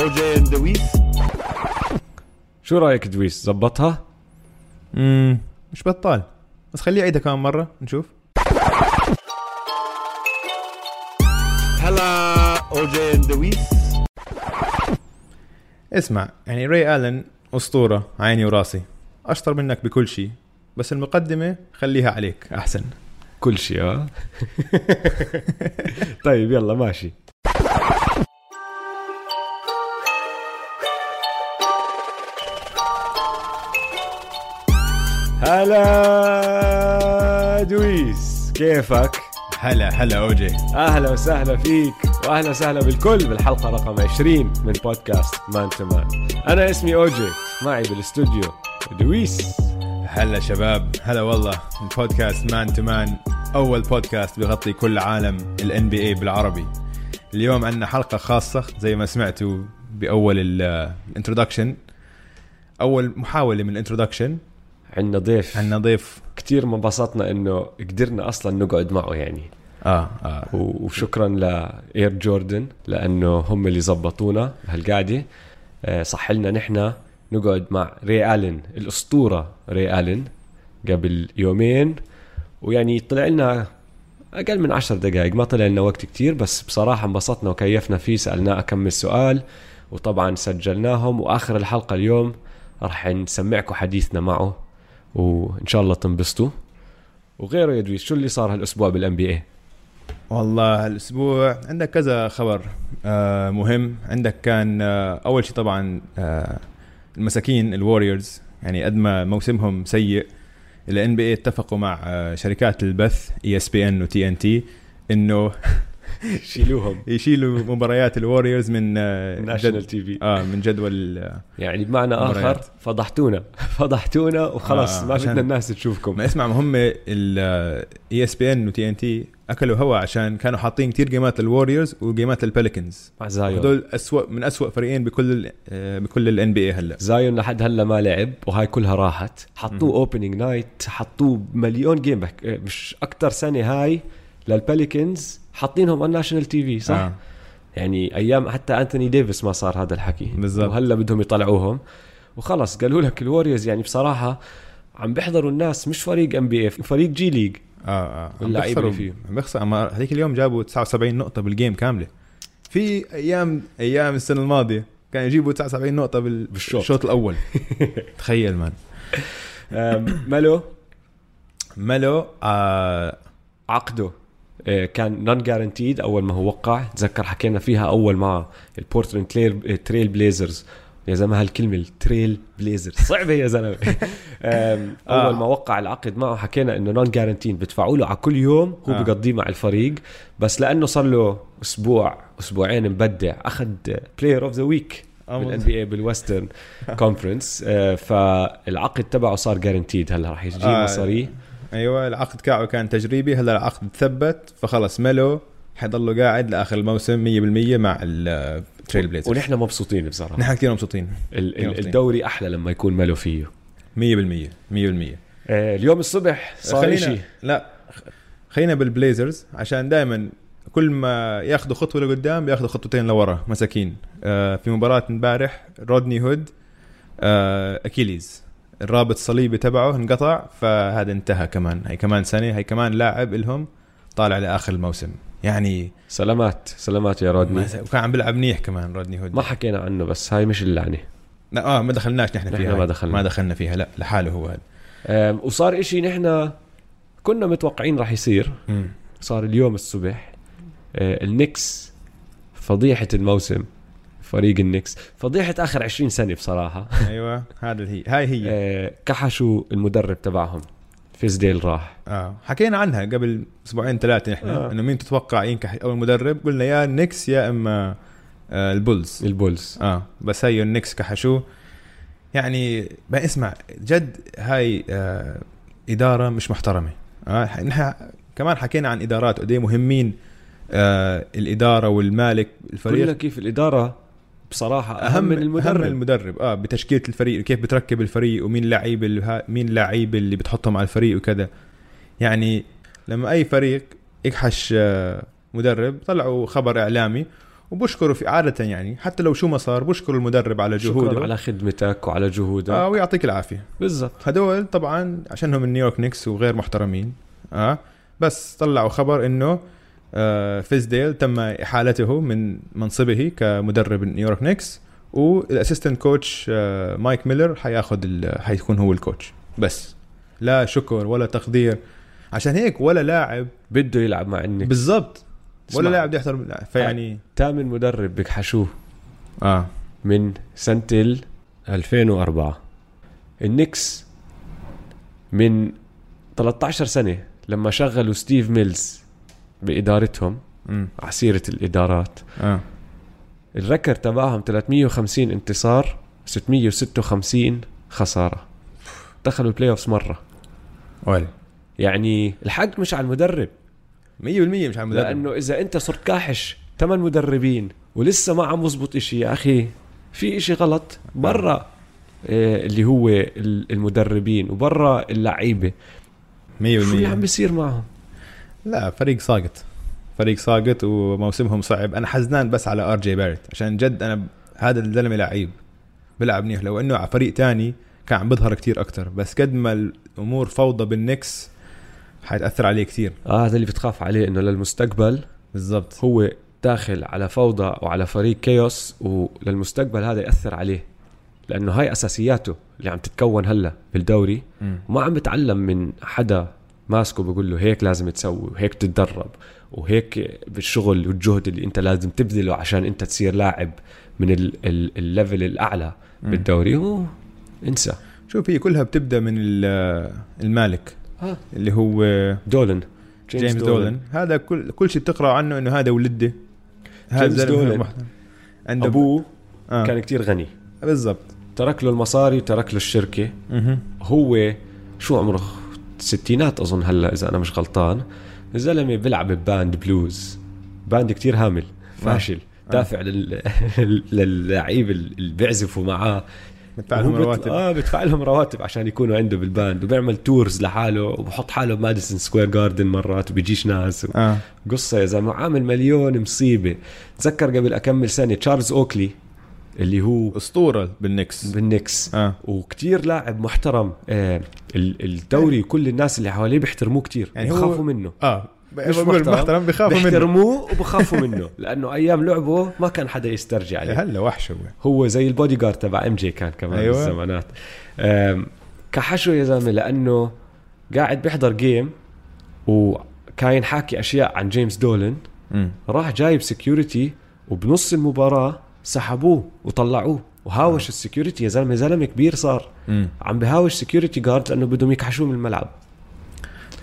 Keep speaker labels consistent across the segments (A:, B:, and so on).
A: OJ and دويس
B: شو رايك دويس زبطها
C: امم مش بطال بس خليه يعيدها كمان مره نشوف
A: هلا OJ and دويس
C: اسمع يعني ري الن اسطوره عيني وراسي اشطر منك بكل شيء بس المقدمه خليها عليك احسن
B: كل شيء اه طيب يلا ماشي هلا دويس كيفك؟
C: هلا هلا اوجي
B: اهلا وسهلا فيك واهلا وسهلا بالكل بالحلقه رقم 20 من بودكاست مان تو مان انا اسمي اوجي معي بالاستوديو دويس
C: هلا شباب هلا والله البودكاست مان تو مان اول بودكاست بغطي كل عالم الان بي اي بالعربي اليوم عندنا حلقه خاصه زي ما سمعتوا باول الانترودكشن اول محاوله من الانترودكشن
B: عندنا ضيف
C: عندنا ضيف
B: كثير انبسطنا انه قدرنا اصلا نقعد معه يعني
C: اه اه
B: و- وشكرا لاير جوردن لانه هم اللي زبطونا هالقعده آه، صح لنا نحن نقعد مع ري الين الاسطوره ري الين قبل يومين ويعني طلع لنا اقل من عشر دقائق ما طلع لنا وقت كتير بس بصراحه انبسطنا وكيفنا فيه سالناه كم السؤال وطبعا سجلناهم واخر الحلقه اليوم راح نسمعكم حديثنا معه وان شاء الله تنبسطوا وغيره يا دويس شو اللي صار هالاسبوع بالان بي اي
C: والله الاسبوع عندك كذا خبر آه مهم عندك كان آه اول شيء طبعا آه المساكين الوريورز يعني قد ما موسمهم سيء الان بي اتفقوا مع آه شركات البث E اي اس بي ان وتي ان تي انه
B: شيلوهم
C: يشيلوا مباريات الوريورز من آه
B: ناشونال
C: جد-
B: تي في
C: اه من جدول آه
B: يعني بمعنى اخر
C: مباريات.
B: فضحتونا فضحتونا وخلاص
C: آه،
B: ما
C: عشان-
B: بدنا الناس تشوفكم
C: ما اسمع ما هم آه، E الاي اس بي ان وتي ان تي اكلوا هوا عشان كانوا حاطين كتير جيمات للوريورز وجيمات للبليكنز
B: مع زايون
C: هدول اسوء من اسوء فريقين بكل ال- آه، بكل الان بي اي هلا
B: زايون لحد هلا ما لعب وهاي كلها راحت حطوه اوبننج نايت حطوه مليون جيم بك- آه، مش اكثر سنه هاي للبليكنز حاطينهم على ناشونال تي في صح؟ آه.
C: آه.
B: يعني ايام حتى انتوني ديفيس ما صار هذا الحكي
C: بالظبط.
B: وهلا بدهم يطلعوهم وخلص قالوا لك الوريوز يعني بصراحه عم بيحضروا الناس مش فريق ام بي اي فريق جي ليج
C: اه اه عم
B: اللعيبة
C: بيخسروا
B: آه. اللي فيه.
C: عم بيخسر أما هذيك اليوم جابوا 79 نقطة بالجيم كاملة في ايام ايام السنة الماضية كانوا يجيبوا 79 نقطة بال...
B: بالشوط.
C: بالشوط الاول تخيل مان
B: آم، ملو
C: ملو آه
B: عقده آه، كان نون جارانتيد اول ما هو وقع تذكر حكينا فيها اول مع البورتلاند تلير- تريل بليزرز يا زلمه هالكلمه التريل بليزرز صعبه يا زلمه آم،
C: آه.
B: اول ما وقع العقد معه حكينا انه نون جارانتيد بدفعوا له على كل يوم هو
C: آه.
B: بقضيه مع الفريق بس لانه صار له اسبوع اسبوعين مبدع اخذ بلاير اوف ذا ويك
C: آه،
B: بالان
C: مظبوط.
B: بي اي بالويسترن كونفرنس آه، فالعقد تبعه صار جارانتيد هلا رح يجي
C: آه.
B: مصاري
C: ايوه العقد تاعه كان تجريبي هلا العقد ثبت فخلص ملو حيضلوا قاعد لاخر الموسم 100% مع التريل بليزرز
B: ونحن مبسوطين بصراحه
C: نحن كثير مبسوطين
B: ال- ال-
C: يلا بينا.
B: الدوري احلى لما يكون ماله فيه
C: 100% 100%
B: آه، اليوم الصبح صار
C: خلينا-
B: شيء
C: لا خ- خلينا بالبليزرز عشان دائما كل ما ياخذوا خطوه لقدام بياخذوا خطوتين لورا مساكين آه في مباراه امبارح رودني هود آه اكيليز الرابط الصليبي تبعه انقطع فهذا انتهى كمان هي كمان سنه هي كمان لاعب الهم طالع لاخر الموسم يعني
B: سلامات سلامات يا رودني
C: ما- وكان عم بيلعب منيح كمان رودني هود
B: ما حكينا عنه بس هاي مش اللعنه
C: لا اه ما دخلناش نحن
B: نحن
C: فيها
B: ما دخلنا.
C: ما دخلنا فيها لا لحاله هو هذا
B: آم، وصار إشي نحن كنا متوقعين راح يصير صار اليوم الصبح آه، النكس فضيحه الموسم فريق النكس فضيحه اخر 20 سنه بصراحه
C: ايوه هذا هي هاي هي
B: آه، كحشوا المدرب تبعهم فيزديل راح
C: اه حكينا عنها قبل اسبوعين ثلاثه نحن
B: آه.
C: آه. انه مين تتوقع ينكح اول مدرب قلنا يا النكس يا اما آه البولز
B: البولز
C: اه بس هي النكس كحشوه يعني بقى اسمع جد هاي آه اداره مش محترمه آه ح- نحن كمان حكينا عن ادارات قد إيه مهمين آه الاداره والمالك
B: قلنا
C: الفريق
B: كيف الاداره بصراحه اهم من
C: اهم
B: المدرب
C: المدرب اه بتشكيله الفريق وكيف بتركب الفريق ومين لعيب الها- مين لعيب اللي بتحطهم على الفريق وكذا يعني لما اي فريق يكحش آه، مدرب طلعوا خبر اعلامي وبشكره في عاده يعني حتى لو شو ما صار بشكر المدرب على
B: شكرا
C: جهوده
B: على خدمتك وعلى جهودك
C: آه ويعطيك العافيه
B: بالضبط
C: هدول طبعا عشان هم نيويورك نيكس وغير محترمين اه بس طلعوا خبر انه آه فيزديل تم احالته من منصبه كمدرب نيويورك نيكس والاسيستنت كوتش آه مايك ميلر حياخد ال- حيكون هو الكوتش بس لا شكر ولا تقدير عشان هيك ولا لاعب
B: بده يلعب مع النكس
C: بالضبط ولا
B: اسمع.
C: لاعب بده يحترم لا، فيعني
B: تامن مدرب بكحشوه آه.
C: اه
B: من سنة ال 2004 النكس من 13 سنة لما شغلوا ستيف ميلز بإدارتهم
C: امم
B: عسيرة الإدارات
C: اه
B: الركر تبعهم 350 انتصار 656 خسارة دخلوا البلاي اوفز مرة
C: ولا 100%
B: يعني الحق مش على المدرب
C: مش على المدرب
B: لانه اذا انت صرت كاحش ثمان مدربين ولسه ما عم يزبط اشي يا اخي في اشي غلط برا إيه، اللي هو ال- المدربين وبرا اللعيبه شو اللي عم
C: 100%
B: بيصير معهم
C: لا فريق ساقط فريق ساقط وموسمهم صعب انا حزنان بس على ار جي بارت عشان جد انا ب- هذا الزلمه لعيب بيلعب منيح لو انه على فريق تاني كان عم بيظهر كتير اكتر بس قد ما الامور فوضى بالنكس حيتاثر عليه كتير
B: آه هذا اللي بتخاف عليه انه للمستقبل
C: بالضبط
B: هو داخل على فوضى وعلى فريق كيوس وللمستقبل هذا ياثر عليه لانه هاي اساسياته اللي عم تتكون هلا بالدوري ما عم بتعلم من حدا ماسكه بقول له هيك لازم تسوي وهيك تتدرب وهيك بالشغل والجهد اللي انت لازم تبذله عشان انت تصير لاعب من ال- ال- الليفل الاعلى
C: مم.
B: بالدوري هو انسى
C: شوف هي كلها بتبدا من ال- المالك
B: آه.
C: اللي هو
B: دولن
C: جيمس دولن هذا كل كل شيء بتقرا عنه انه هذا ولده هذا
B: جيمس
C: الزلمة
B: دولن.
C: محترم. عنده
B: ابوه
C: آه.
B: كان كتير غني
C: بالضبط
B: ترك له المصاري وترك له الشركه
C: مهم.
B: هو شو عمره الستينات اظن هلا اذا انا مش غلطان الزلمه بيلعب بباند بلوز باند كتير هامل
C: آه.
B: فاشل دافع لل... للعيب اللي بيعزفوا معاه
C: مدفع لهم
B: وهو بت-
C: رواتب
B: اه بدفع لهم رواتب عشان يكونوا عنده بالباند وبيعمل تورز لحاله وبحط حاله بماديسون سكوير جاردن مرات وبيجيش ناس و...
C: اه
B: قصه يا زلمه عامل مليون مصيبه تذكر قبل اكمل سنه تشارلز اوكلي اللي هو
C: اسطوره بالنكس
B: بالنكس
C: اه
B: وكتير لاعب محترم آه ال- الدوري كل الناس اللي حواليه بيحترموه كتير
C: يعني
B: يعني
C: هو-
B: بخافوا منه
C: اه
B: مش
C: مش محترم, محترم بخافوا منه
B: بيحترموه وبخافوا منه لانه ايام لعبه ما كان حدا يسترجع عليه
C: إيه، هلا وحش هو
B: هو زي البودي جارد تبع ام جي كان كمان
C: أيوة.
B: أيوة. بالزمانات أم، كحشو يا زلمه لانه قاعد بيحضر جيم وكاين حاكي اشياء عن جيمس دولن راح جايب سكيورتي وبنص المباراه سحبوه وطلعوه وهاوش السكيورتي يا زلمه زلمه كبير صار عم بهاوش سكيورتي جارد لانه بدهم يكحشوه من الملعب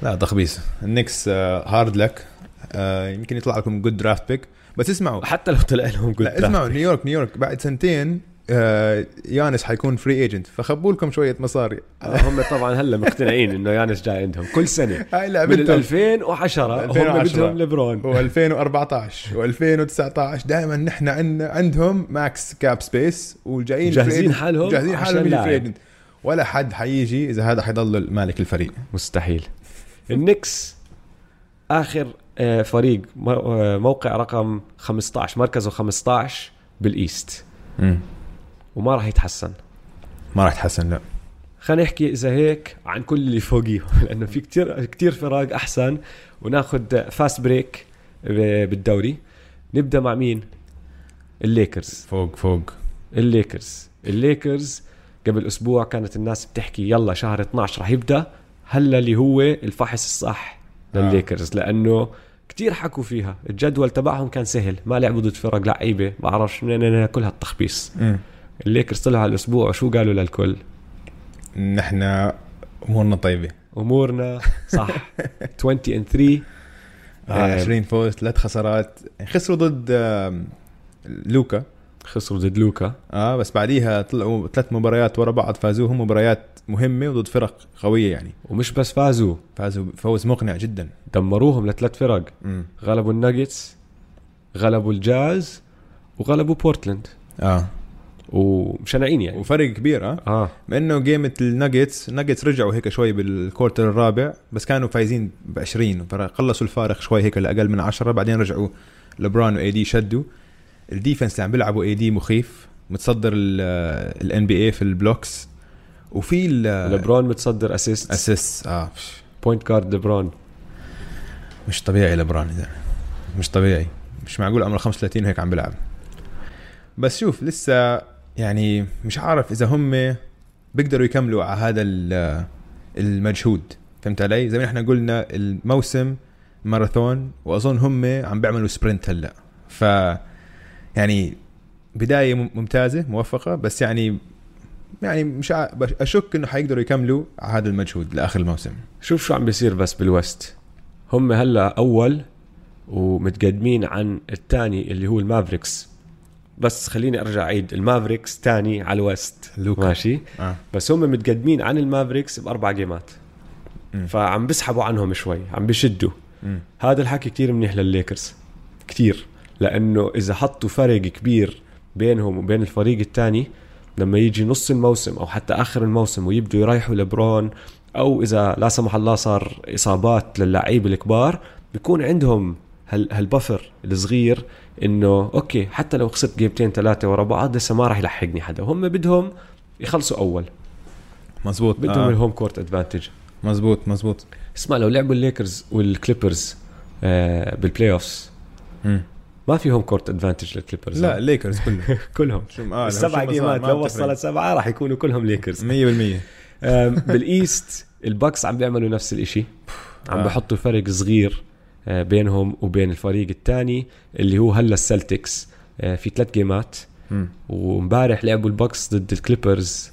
C: لا تخبيص النكس هارد لك آه، يمكن يطلع لكم جود درافت بيك بس اسمعوا
B: حتى لو طلع لهم جود
C: لا اسمعوا نيويورك نيويورك بعد سنتين آه، يانس حيكون فري ايجنت فخبوا لكم شويه مصاري
B: آه، هم طبعا هلا مقتنعين انه يانس جاي عندهم كل سنه
C: هاي
B: من
C: لعبتهم
B: 2010 هم
C: 2010.
B: بدهم ليبرون
C: و2014 و2019 دائما نحن عندنا عندهم ماكس كاب سبيس وجايين
B: جاهزين
C: free agent-
B: حالهم
C: جاهزين
B: عشان
C: حالهم يجي
B: لاعب.
C: فري ايجنت ولا حد حيجي اذا هذا حيضل مالك الفريق
B: مستحيل النكس اخر آه، فريق مو- آه، موقع رقم 15 مركزه 15 بالايست وما راح يتحسن
C: ما راح تحسن لا
B: خلينا نحكي اذا هيك عن كل اللي فوقيه لانه في كتير كتير فراق احسن وناخذ فاست بريك بالدوري نبدا مع مين الليكرز
C: فوق فوق
B: الليكرز الليكرز قبل اسبوع كانت الناس بتحكي يلا شهر 12 رح يبدا هلا اللي هو الفحص الصح
C: آه.
B: للليكرز لانه كتير حكوا فيها الجدول تبعهم كان سهل ما لعبوا ضد فرق لعيبه بعرفش منين كل هالتخبيص الليكرز طلعوا على الاسبوع وشو قالوا للكل
C: نحن امورنا طيبه
B: امورنا صح 20 and 3
C: آه.
B: آه.
C: 20 فوز ثلاث خسارات خسروا ضد آم، لوكا
B: خسروا ضد لوكا
C: اه بس بعديها طلعوا ثلاث مباريات ورا بعض فازوهم مباريات مهمه وضد فرق قويه يعني
B: ومش بس فازوا
C: فازوا فوز مقنع جدا
B: دمروهم لثلاث فرق غلبوا الناجتس غلبوا الجاز وغلبوا بورتلاند
C: اه
B: ومشنعين يعني
C: وفرق كبير اه
B: اه
C: مع انه جيمة الناجتس الناجتس رجعوا هيك شوي بالكورتر الرابع بس كانوا فايزين ب 20 فقلصوا الفارق شوي هيك لاقل من 10 بعدين رجعوا لبران واي دي شدوا الديفنس اللي عم بيلعبوا اي دي مخيف متصدر الان بي اي في البلوكس وفي
B: لبرون متصدر اسيست
C: الاسيس اه مش-
B: بوينت جارد لبرون
C: مش طبيعي لبران يا زلمة. مش طبيعي مش معقول عمره 35 وهيك عم بيلعب بس شوف لسه يعني مش عارف اذا هم بيقدروا يكملوا على هذا ال- المجهود فهمت علي؟ زي ما احنا قلنا الموسم ماراثون واظن هم عم بيعملوا سبرنت هلا ف يعني بدايه مم- ممتازه موفقه بس يعني يعني مش ع... بش- اشك انه حيقدروا يكملوا على هذا المجهود لاخر الموسم
B: شوف شو عم بيصير بس بالوست هم هلا اول ومتقدمين عن الثاني اللي هو المافريكس بس خليني ارجع اعيد المافريكس ثاني على الوست
C: لوكا.
B: ماشي
C: آه.
B: بس هم متقدمين عن المافريكس باربع جيمات
C: مم.
B: فعم بسحبوا عنهم شوي عم بشدوا
C: مم.
B: هذا الحكي كتير منيح للليكرز كتير لانه اذا حطوا فرق كبير بينهم وبين الفريق الثاني لما يجي نص الموسم او حتى اخر الموسم ويبدوا يريحوا لبرون او اذا لا سمح الله صار اصابات للعيبه الكبار بيكون عندهم هال هالبفر الصغير انه اوكي حتى لو خسرت جيمتين ثلاثه ورا بعض لسه ما راح يلحقني حدا هم بدهم يخلصوا اول
C: مزبوط
B: بدهم آه. الهوم كورت ادفانتج
C: مزبوط مزبوط
B: اسمع لو لعبوا الليكرز والكليبرز آه بالبلاي اوفز ما في هوم كورت ادفانتج للكليبرز
C: لا الليكرز كلهم
B: كلهم
C: شو- آه، لو شو
B: السبع
C: ما صار،
B: جيمات
C: ما
B: لو
C: بتفرق.
B: وصلت سبعه راح يكونوا كلهم ليكرز
C: 100%
B: آم، بالايست الباكس عم بيعملوا نفس الاشي عم
C: آه.
B: بحطوا فرق صغير آه، بينهم وبين الفريق الثاني اللي هو هلا السلتكس آه، في ثلاث جيمات
C: مم.
B: ومبارح لعبوا الباكس ضد الكليبرز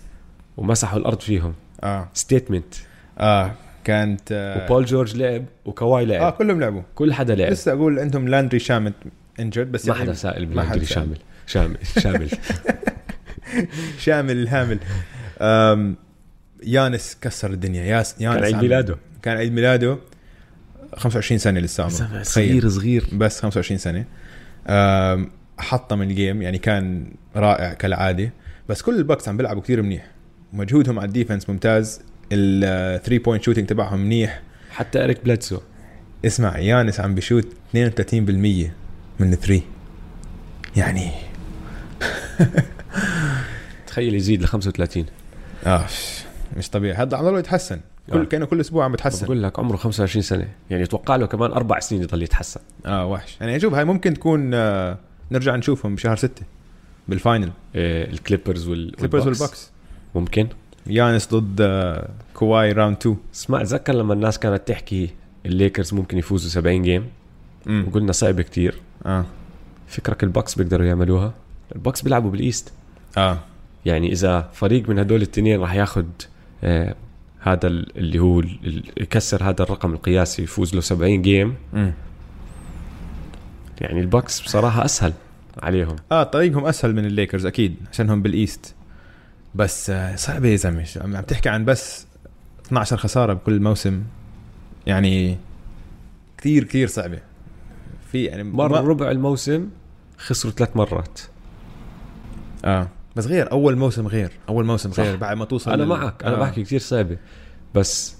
B: ومسحوا الارض فيهم
C: اه
B: ستيتمنت
C: اه كانت آه,
B: وبول جورج لعب وكواي لعب
C: اه
B: آه.
C: كلهم لعبوا
B: كل حدا لعب
C: لسه اقول عندهم لاندري شامت انجرد بس
B: ما
C: يعني
B: حدا سائل
C: ما حدا
B: بالهندري
C: سائل.
B: شامل شامل شامل
C: شامل الهامل آم يانس كسر الدنيا ياس يانس
B: كان عيد
C: عم-
B: ميلاده
C: كان عيد ميلاده 25 سنه لسه عمره تخيل.
B: صغير صغير
C: بس 25 سنه آم، حطم الجيم يعني كان رائع كالعاده بس كل الباكس عم بيلعبوا كثير منيح مجهودهم على الديفنس ممتاز الثري بوينت شوتنج تبعهم منيح
B: حتى اريك بلاتسو
C: اسمع يانس عم بشوت 32% من الثري يعني
B: تخيل يزيد ل 35
C: اه مش طبيعي هذا عم ضله يتحسن كل
B: آه.
C: كانه كل اسبوع عم بتحسن
B: بقول لك عمره 25 سنه يعني اتوقع له كمان اربع سنين يضل يتحسن
C: اه وحش يعني شوف هاي ممكن تكون آه نرجع نشوفهم بشهر ستة بالفاينل
B: إيه، الكليبرز وال
C: كليبرز
B: والبوكس.
C: والباكس
B: ممكن
C: يانس ضد آه كواي راوند 2
B: اسمع اتذكر لما الناس كانت تحكي الليكرز ممكن يفوزوا 70 جيم
C: امم
B: وقلنا صعب كتير
C: اه
B: فكرك البكس بيقدروا يعملوها البكس بيلعبوا بالايست
C: اه
B: يعني اذا فريق من هدول التنين راح ياخذ آه هذا ال- اللي هو ال- ال- يكسر هذا الرقم القياسي يفوز له 70 جيم
C: مم.
B: يعني البكس بصراحه اسهل عليهم
C: اه طريقهم اسهل من الليكرز اكيد عشان هم بالايست بس آه، صعبه يا زلمه شو- عم عم تحكي عن بس 12 خساره بكل موسم يعني كثير كثير صعبه في يعني
B: مره
C: ما-
B: ربع الموسم خسروا ثلاث مرات
C: اه بس غير اول موسم غير اول موسم
B: صح.
C: غير بعد ما توصل
B: انا
C: لل-
B: معك انا
C: آه.
B: بحكي كثير صعبه بس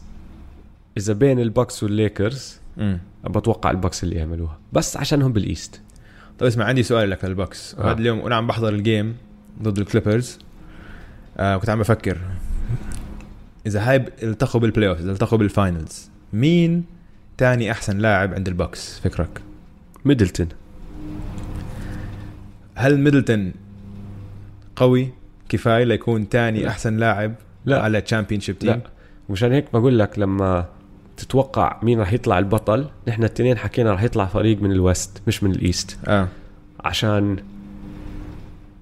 B: اذا بين الباكس والليكرز
C: مم.
B: بتوقع الباكس اللي يعملوها بس عشان هم بالايست
C: طيب اسمع عندي سؤال لك للبوكس
B: آه.
C: هذا اليوم وانا عم بحضر الجيم ضد الكليبرز آه كنت عم بفكر اذا هاي ب- التقوا بالبلاي اوف اذا التقوا بالفاينلز مين تاني احسن لاعب عند البوكس فكرك
B: ميدلتون
C: هل ميدلتون قوي كفايه ليكون تاني احسن لاعب
B: لا.
C: على تشامبيون شيب تيم
B: لا مشان هيك بقول لك لما تتوقع مين رح يطلع البطل نحن التنين حكينا رح يطلع فريق من الوست مش من الايست
C: اه
B: عشان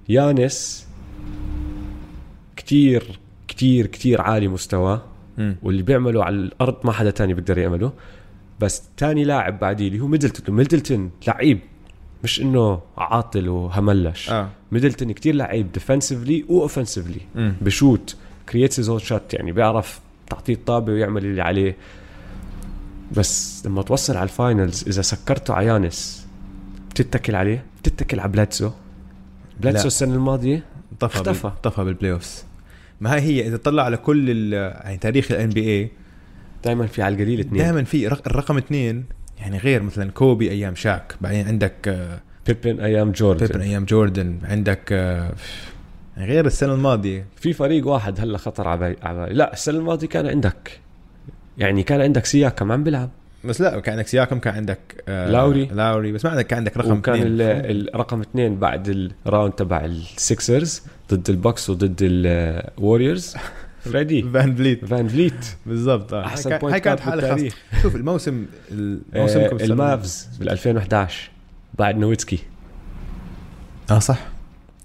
B: يانس كتير كتير كتير عالي مستواه
C: مم.
B: واللي بيعمله على الارض ما حدا تاني بيقدر يعمله بس تاني لاعب بعديه اللي هو ميدلتون ميدلتون لعيب مش انه عاطل وهملش
C: اه
B: ميدلتون كتير لعيب ديفنسفلي واوفنسفلي
C: مم.
B: بشوت كرييت هيز شوت يعني بيعرف تعطيه الطابه ويعمل اللي عليه بس لما توصل على الفاينلز اذا سكرته على يانس بتتكل عليه بتتكل على بلاتسو بلاتسو
C: لا.
B: السنه الماضيه
C: اختفى
B: اختفى.
C: اختفى اختفى بالبلاي اوفس ما هي هي اذا تطلع على كل ال- يعني تاريخ الان بي اي
B: دائما في على القليل اثنين
C: دائما في رق- الرقم اثنين يعني غير مثلا كوبي ايام شاك بعدين عندك آه،
B: بيبن ايام جوردن
C: بيبن ايام طيب، جوردن عندك آه، غير السنه الماضيه
B: في فريق واحد هلا خطر على بالي- على بالي. لا السنه الماضيه كان عندك يعني كان عندك سياكم عم بيلعب
C: بس لا كان عندك سياكم كان عندك آه،
B: لاوري.
C: لاوري بس ما عندك كان عندك رقم
B: وكان
C: اثنين
B: ال- الرقم اثنين بعد الراوند تبع السكسرز ضد البوكس وضد الوريورز فريدي
C: فان فليت
B: فان فليت
C: بالضبط آه.
B: أحسن
C: هاي كان-
B: point
C: هاي كانت
B: guard
C: حاله خاصه
B: بالتاريخ.
C: شوف الموسم الموسم
B: آه،
C: كم سنة؟
B: المافز بال 2011 بعد نويتسكي
C: اه صح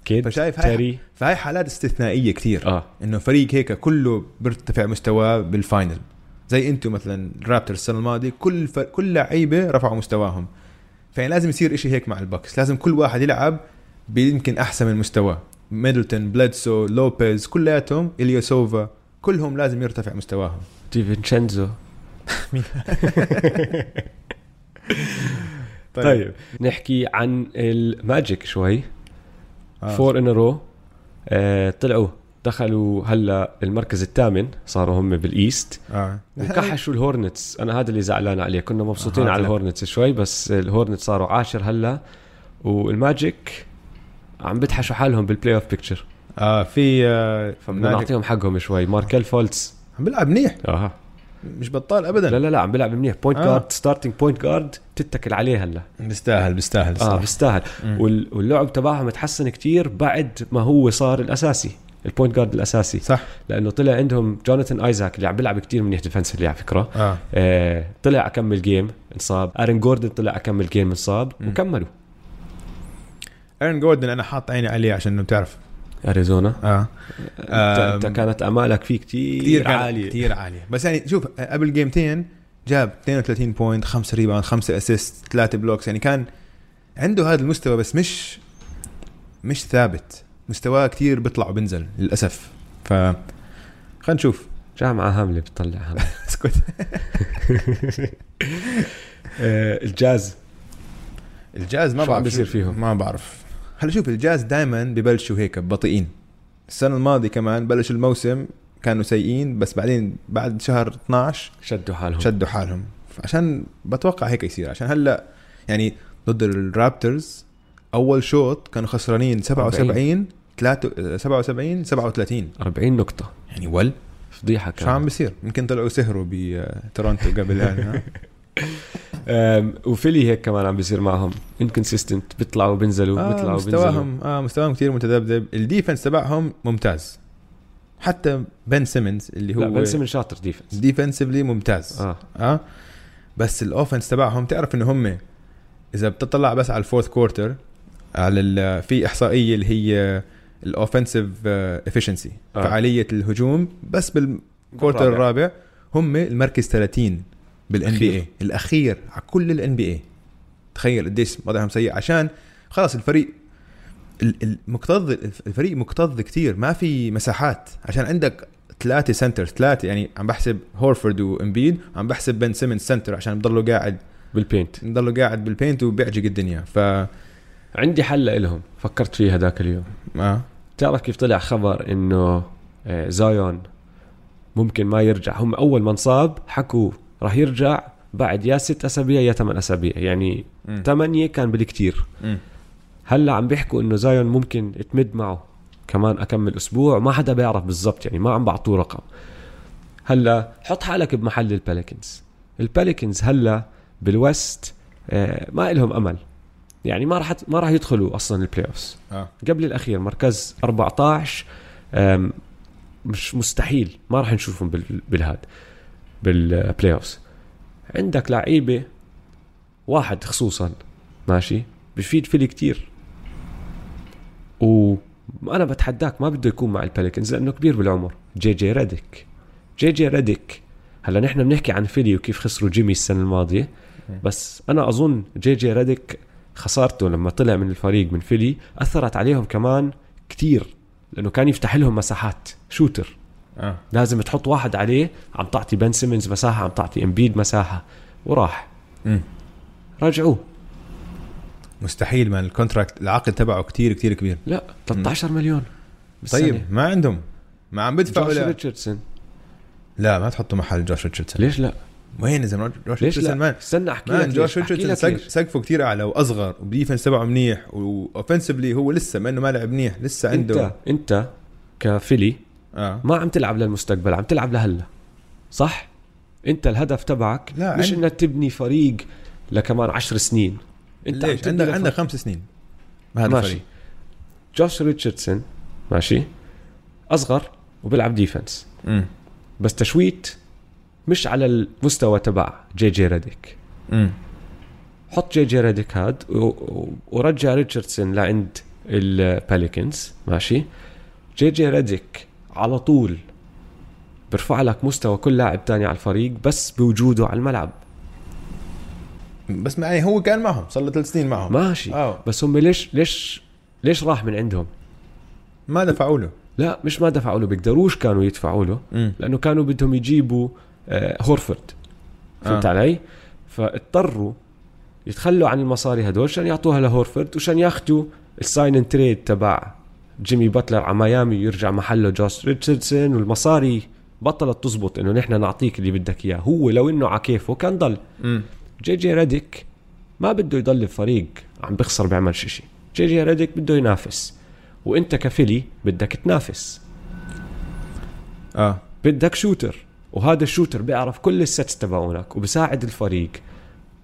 B: كيد
C: فشايف هاي-
B: تيري
C: فهاي حالات استثنائيه كثير
B: اه
C: انه فريق هيك كله بيرتفع مستواه بالفاينل زي انتم مثلا الرابترز السنه الماضيه كل ف... كل لعيبه رفعوا مستواهم فيعني لازم يصير إشي هيك مع البكس لازم كل واحد يلعب بيمكن احسن من مستواه ميدلتون بلادسو لوبيز كلياتهم اليوسوفا كلهم لازم يرتفع مستواهم
B: دي فينشينزو طيب نحكي عن الماجيك شوي
C: آه.
B: فور ان رو آه، طلعوا دخلوا هلا المركز الثامن صاروا هم بالايست
C: آه.
B: وكحشوا الهورنتس انا هذا اللي زعلان عليه كنا مبسوطين
C: آه،
B: على
C: طلع.
B: الهورنتس شوي بس الهورنتس صاروا عاشر هلا والماجيك عم بتحشوا حالهم بالبلاي اوف بيكتشر
C: اه في آه
B: بدنا
C: نادي-
B: نعطيهم حقهم شوي ماركل فولتس
C: عم بيلعب منيح
B: اها
C: مش بطال ابدا
B: لا لا لا عم بيلعب منيح بوينت
C: طيب. آه.
B: جارد ستارتنج بوينت جارد تتكل عليه هلا
C: بيستاهل بيستاهل
B: اه
C: صراحة.
B: بيستاهل
C: مم.
B: وال- واللعب تبعهم تحسن كتير بعد ما هو صار الاساسي البوينت جارد الاساسي
C: صح
B: لانه طلع عندهم جوناثان ايزاك اللي عم بيلعب كتير منيح ديفنسلي على فكره
C: اه
B: آه طلع اكمل جيم انصاب ارن جوردن طلع اكمل جيم انصاب
C: مم.
B: وكملوا
C: ايرن جوردن انا حاط عيني عليه عشان انه بتعرف
B: اريزونا
C: اه
B: أنت- انت
C: آم.
B: كانت امالك فيه كتير,
C: كثير عالية
B: عاليه
C: كثير عالية بس يعني شوف قبل جيمتين جاب 32 بوينت 5 ريباوند 5 اسيست 3 بلوكس يعني كان عنده هذا المستوى بس مش مش ثابت مستواه كثير بيطلع وبنزل للاسف ف خلينا نشوف
B: جامعه هامله بتطلع هامله
C: اسكت
B: آه الجاز
C: الجاز ما
B: شو
C: بعرف
B: عم بيصير فيهم؟
C: ما بعرف هلا شوف الجاز دائما ببلشوا هيك بطيئين السنه الماضيه كمان بلش الموسم كانوا سيئين بس بعدين بعد شهر 12
B: شدوا حالهم
C: شدوا حالهم عشان بتوقع هيك يصير عشان هلا يعني ضد الرابترز اول شوط كانوا خسرانين 77 3 77 37
B: 40 نقطه
C: يعني ول
B: فضيحه
C: شو عم
B: كانت
C: بيصير يمكن طلعوا سهروا بتورونتو قبل يعني ها؟
B: آم، وفيلي هيك كمان عم بيصير معهم انكونسيستنت بيطلعوا بينزلوا
C: آه
B: بيطلعوا بينزلوا
C: مستواهم اه مستواهم كثير متذبذب الديفنس تبعهم ممتاز حتى بن سيمنز اللي هو
B: لا بن سيمن شاطر ديفنس
C: ديفنسفلي ممتاز
B: اه
C: اه بس الاوفنس تبعهم تعرف ان هم اذا بتطلع بس على الفورث كورتر على ال- في احصائيه اللي هي الاوفنسيف افشنسي
B: آه.
C: فعاليه الهجوم بس بالكورتر
B: بالرابع.
C: الرابع هم المركز 30 بالان بي
B: أخير.
C: اي الاخير على كل الان بي اي تخيل قديش وضعهم سيء عشان خلاص الفريق ال- ال- مكتظ الفريق مكتظ كتير ما في مساحات عشان عندك ثلاثة سنتر ثلاثة يعني عم بحسب هورفورد وامبيد عم بحسب بن سيمنز سنتر عشان بضلوا قاعد
B: بالبينت
C: بضلوا قاعد بالبينت وبيعجق الدنيا ف
B: عندي حل لهم فكرت فيها ذاك اليوم
C: آه.
B: بتعرف كيف طلع خبر انه آه، زايون ممكن ما يرجع هم اول ما انصاب حكوا راح يرجع بعد يا ست اسابيع يا ثمان اسابيع يعني
C: مم.
B: ثمانية كان بالكتير
C: مم.
B: هلا عم بيحكوا انه زايون ممكن تمد معه كمان اكمل اسبوع ما حدا بيعرف بالضبط يعني ما عم بعطوه رقم هلا حط حالك بمحل الباليكنز الباليكنز هلا بالوست آه، ما إلهم امل يعني ما راح ما راح يدخلوا اصلا البلاي اوفز
C: آه.
B: قبل الاخير مركز 14 أم، مش مستحيل ما راح نشوفهم بال- بالهاد بالبلاي اوفز عندك لعيبه واحد خصوصا ماشي بفيد فيلي كتير وانا بتحداك ما بده يكون مع الباليكنز لانه كبير بالعمر جي جي ريديك جي جي ريديك هلا نحن بنحكي عن فيلي وكيف خسروا جيمي السنه الماضيه بس انا اظن جي جي ريديك خسارته لما طلع من الفريق من فيلي اثرت عليهم كمان كتير لانه كان يفتح لهم مساحات شوتر
C: آه.
B: لازم تحط واحد عليه عم تعطي بن سيمنز مساحه عم تعطي امبيد مساحه وراح
C: مم.
B: رجعوه
C: مستحيل من الكونتراكت العقد تبعه كتير كتير كبير
B: لا 13 مليون بالسنة.
C: طيب ما عندهم ما عم بدفعوا
B: جوش
C: لا.
B: ريتشاردسون
C: لا ما تحطوا محل جوش ريتشاردسون
B: ليش لا
C: وين يا زلمه
B: ليش
C: جوش ريتشاردسون
B: لا
C: مان
B: استنى احكي لك
C: مان
B: ليش.
C: جوش
B: أحكي
C: ريتشاردسون
B: لك
C: سق-
B: ليش.
C: سقفه كتير اعلى وازغر والديفنس تبعه منيح واوفنسبلي هو لسه ما انه ما لعب منيح لسه
B: انت
C: عنده
B: انت كفيلي
C: اه
B: ما عم تلعب للمستقبل عم تلعب لهلا صح انت الهدف تبعك
C: لا،
B: مش
C: عن-
B: انك تبني فريق لكمان عشر سنين انت عم
C: ليش
B: تبني
C: عندك
B: لفريق.
C: عندك خمس سنين ما هذا
B: ماشي
C: فريق
B: جوش ريتشاردسون ماشي اصغر وبيلعب ديفنس
C: مم.
B: بس تشويت مش على المستوى تبع جي جي ريديك
C: مم.
B: حط جي جي ريديك هاد و- و- ورجع ريتشاردسون لعند الباليكنز ماشي جي جي ريديك على طول برفع لك مستوى كل لاعب تاني على الفريق بس بوجوده على الملعب
C: بس ما يعني هو كان معهم صار له ثلاث سنين معهم
B: ماشي
C: آه.
B: بس هم ليش ليش ليش راح من عندهم
C: ما دفعوا له
B: لا مش ما دفعوا له بيقدروش كانوا يدفعوا له
C: مم.
B: لانه كانوا بدهم يجيبوا آه، هورفرد فهمت
C: آه.
B: آه. علي؟ فاضطروا يتخلوا عن المصاري هدول عشان يعطوها لهورفرد وشان ياخذوا الساين ان تريد تبع جيمي باتلر على ميامي يرجع محله جوش ريتشاردسون والمصاري بطلت تزبط انه نحن نعطيك اللي بدك اياه هو لو انه على كيفه كان ضل
C: مم.
B: جي جي ريديك ما بده يضل بفريق عم بخسر بيعملش شيء جي جي ريديك بده ينافس وانت كفيلي بدك تنافس
C: اه
B: بدك شوتر وهذا الشوتر بيعرف كل السيتس تبعونك وبساعد الفريق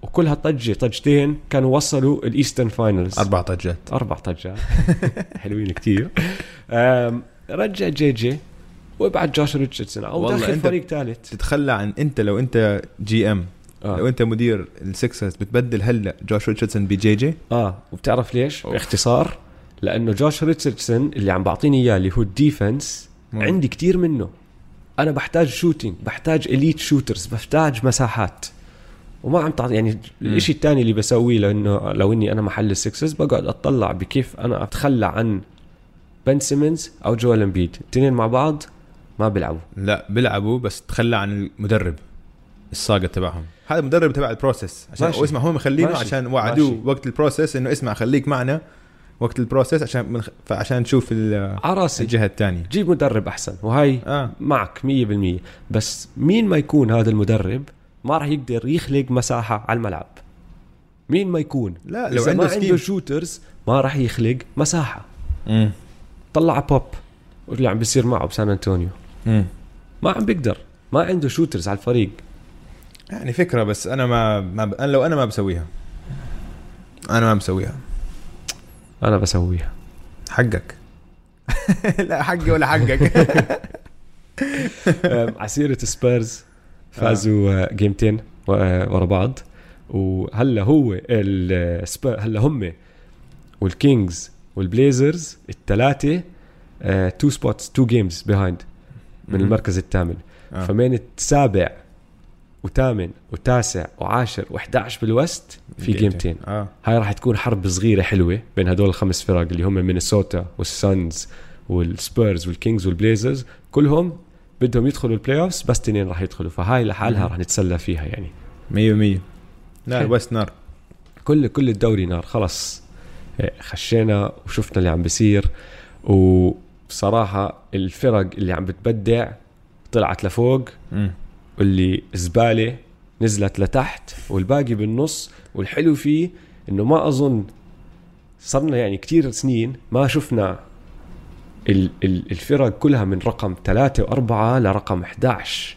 B: وكل هالطجه طجتين كانوا وصلوا الايسترن فاينلز
C: اربع طجات
B: اربع طجات حلوين كتير أم، رجع جي جي وابعت جوش ريتشاردسون او
C: والله
B: داخل
C: أنت
B: فريق ثالث
C: تتخلى عن انت لو انت جي ام
B: آه.
C: لو انت مدير السكسرز بتبدل هلا جوش ريتشاردسون بجي جي
B: اه وبتعرف ليش؟
C: أوف.
B: باختصار لانه جوش ريتشاردسون اللي عم بعطيني اياه اللي هو الديفنس
C: مم.
B: عندي كتير منه انا بحتاج شوتينج بحتاج اليت شوترز بحتاج مساحات وما عم تعطي يعني الشيء الثاني اللي بسويه لانه لو اني انا محل السكسز بقعد اطلع بكيف انا اتخلى عن بن سيمنز او جوال امبيد الاثنين مع بعض ما بيلعبوا
C: لا بيلعبوا بس تخلى عن المدرب الساقط تبعهم هذا المدرب تبع البروسيس عشان
B: ماشي.
C: واسمع هم مخلينه
B: ماشي.
C: عشان وعدوه
B: ماشي.
C: وقت البروسيس انه اسمع خليك معنا وقت البروسيس عشان منخ... فعشان نشوف ال-
B: على راسي
C: الجهه الثانيه
B: جيب مدرب احسن وهي
C: اه
B: معك 100% بس مين ما يكون هذا المدرب ما راح يقدر يخلق مساحه على الملعب مين ما يكون
C: لا، لو
B: إذا
C: عنده
B: ما عنده
C: سكيم.
B: شوترز ما راح يخلق مساحه
C: امم
B: طلع بوب واللي عم بيصير معه بسان انطونيو ما عم بيقدر ما عنده شوترز على الفريق
C: يعني فكره بس انا ما, ما ب... أنا لو انا ما بسويها انا ما بسويها
B: انا بسويها
C: حقك لا حقي ولا حقك
B: أم، عسيرة سبيرز فازوا آه، جيمتين و- آه، ورا بعض وهلا هو السبير هلا هم والكينجز والبليزرز آه، الثلاثه تو سبوتس تو جيمز بيهايند من
C: مم.
B: المركز الثامن
C: آه.
B: فمن السابع وثامن وتاسع وعاشر و11 بالوست في جيمتين
C: اه
B: هاي راح تكون حرب صغيره حلوه بين هدول الخمس فرق اللي هم مينيسوتا والسانز والسبيرز والكينجز والبليزرز كلهم بدهم يدخلوا البلاي اوفز بس تنين راح يدخلوا فهاي لحالها
C: مم.
B: راح نتسلى فيها يعني
C: مية مية لا
B: حلو.
C: الوست نار
B: كل كل الدوري نار خلص إيه، خشينا وشفنا اللي عم بيصير وبصراحه الفرق اللي عم بتبدع طلعت لفوق واللي زباله نزلت لتحت والباقي بالنص والحلو فيه انه ما اظن صرنا يعني كتير سنين ما شفنا ال- ال- الفرق كلها من رقم ثلاثة وأربعة لرقم 11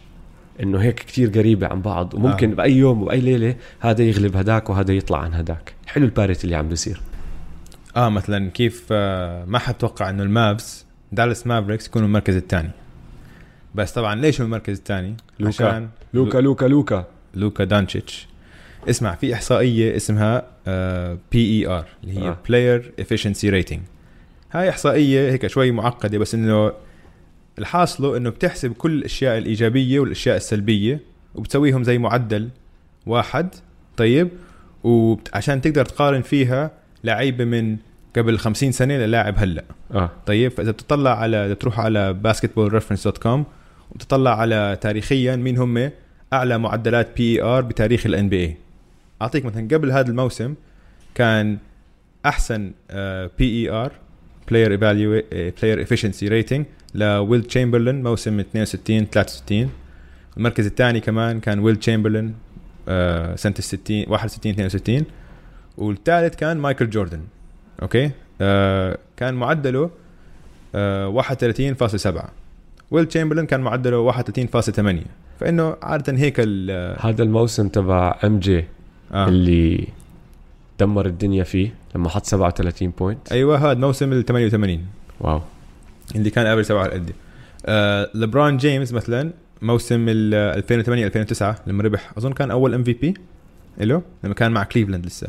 B: انه هيك كتير قريبة عن بعض وممكن آه. بأي يوم وبأي ليلة هذا يغلب هداك وهذا يطلع عن هداك حلو الباريت اللي عم بيصير
C: اه مثلا كيف آه ما حد توقع انه المافز دالاس مافريكس يكونوا المركز الثاني بس طبعا ليش هم المركز الثاني؟
B: لوكا.
C: عشان
B: لوكا
C: لو-
B: لوكا لوكا
C: لوكا دانتشيتش اسمع في احصائيه اسمها آه، بي اي ار اللي هي
B: آه.
C: بلاير افشنسي ريتنج هاي احصائيه هيك شوي معقده بس انه الحاصله انه بتحسب كل الاشياء الايجابيه والاشياء السلبيه وبتسويهم زي معدل واحد طيب وعشان تقدر تقارن فيها لعيبه من قبل 50 سنه للاعب هلا
B: اه
C: طيب فاذا بتطلع على إذا بتروح على basketballreference.com وبتطلع على تاريخيا مين هم اعلى معدلات بي اي ار بتاريخ الان بي اي اعطيك مثلا قبل هذا الموسم كان آه، احسن بي اي ار بلاير آه، بلاير افشنسي ريتنج لويل تشامبرلين موسم 62 63 المركز الثاني كمان كان ويل تشامبرلين آه، سنه ال 60 61 62 والثالث كان مايكل جوردن اوكي آه، كان معدله آه، 31.7 ويل تشامبرلين كان معدله 31.8 فانه عاده هيك ال
B: هذا الموسم تبع ام جي
C: آه.
B: اللي دمر الدنيا فيه لما حط 37 بوينت
C: ايوه هذا موسم ال 88
B: واو
C: اللي كان قبل سبعه على قد آه لبران جيمس مثلا موسم ال 2008 2009 لما ربح اظن كان اول ام في بي له لما كان مع كليفلاند لسه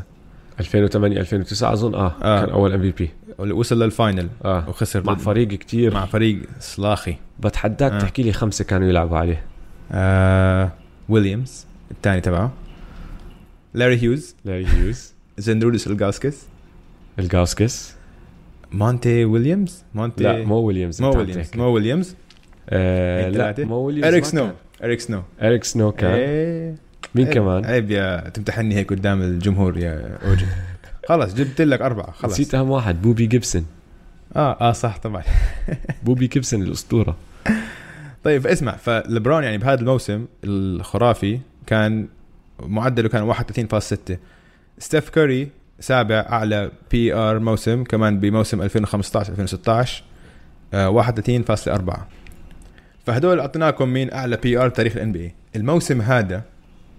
B: 2008 2009 اظن اه,
C: آه.
B: آه. كان اول ام في بي
C: وصل للفاينل
B: اه
C: وخسر
B: مع
C: ضد-
B: فريق كتير
C: مع فريق سلاخي
B: بتحداك
C: آه.
B: آه. تحكي لي خمسه كانوا يلعبوا عليه
C: آه ويليامز الثاني تبعه لاري هيوز
B: لاري هيوز
C: زندرودس الجاسكس
B: الجاوسكس
C: مونتي ويليامز مونتي
B: لا مو ويليامز
C: مو
B: أنت عم تحكي.
C: ويليامز إيه، مو ويليامز
B: آه
C: أنت بعدين؟
B: لا مو ويليامز
C: اريك
B: ما
C: سنو
B: كان.
C: اريك سنو
B: اريك سنو كان
C: إيه.
B: مين
C: عيب-
B: كمان
C: عيب يا تمتحني هيك قدام الجمهور يا اوجي خلص جبت لك اربعه خلص
B: نسيت اهم واحد بوبي جيبسون
C: اه اه صح طبعا
B: بوبي جيبسون الاسطوره
C: طيب اسمع فلبرون يعني بهذا الموسم الخرافي كان معدله كان 31.6 ستيف كوري سابع اعلى بي ار موسم كمان بموسم 2015 2016 آه، 31.4 فهدول اعطيناكم مين اعلى بي ار تاريخ الان بي اي الموسم هذا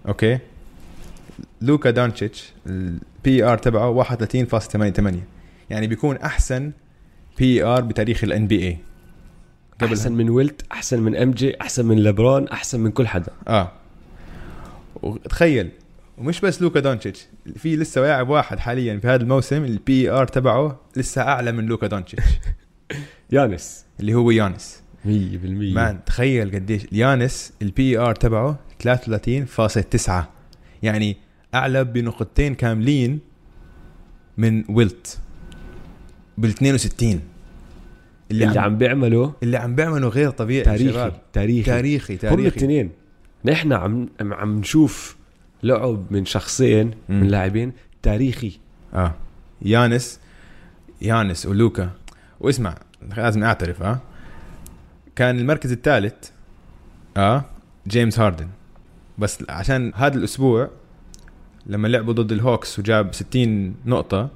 C: اوكي لوكا دانتشيتش البي ار تبعه 31.88 يعني بيكون احسن بي ار بتاريخ الان بي اي قبل-
B: احسن من ويلت احسن من ام جي احسن من لبرون احسن من كل حدا
C: اه وتخيل ومش بس لوكا دونتشيتش في لسه لاعب واحد حاليا في هذا الموسم البي ار تبعه لسه اعلى من لوكا دونتشيتش
B: يانس
C: اللي هو يانس
B: 100% مان
C: مان تخيل قديش يانس البي ار تبعه 33.9 يعني اعلى بنقطتين كاملين من ويلت بال 62 اللي,
B: اللي عم بيعملوا
C: اللي عم بيعمله غير طبيعي يعني يا
B: تاريخي
C: شباب.
B: تاريخي
C: تاريخي
B: هم
C: تاريخي
B: الاثنين نحن عم عم نشوف لعب من شخصين
C: مم.
B: من لاعبين تاريخي
C: اه يانس يانس ولوكا واسمع لازم اعترف اه كان المركز الثالث اه جيمس هاردن بس عشان هذا الاسبوع لما لعبوا ضد الهوكس وجاب 60 نقطة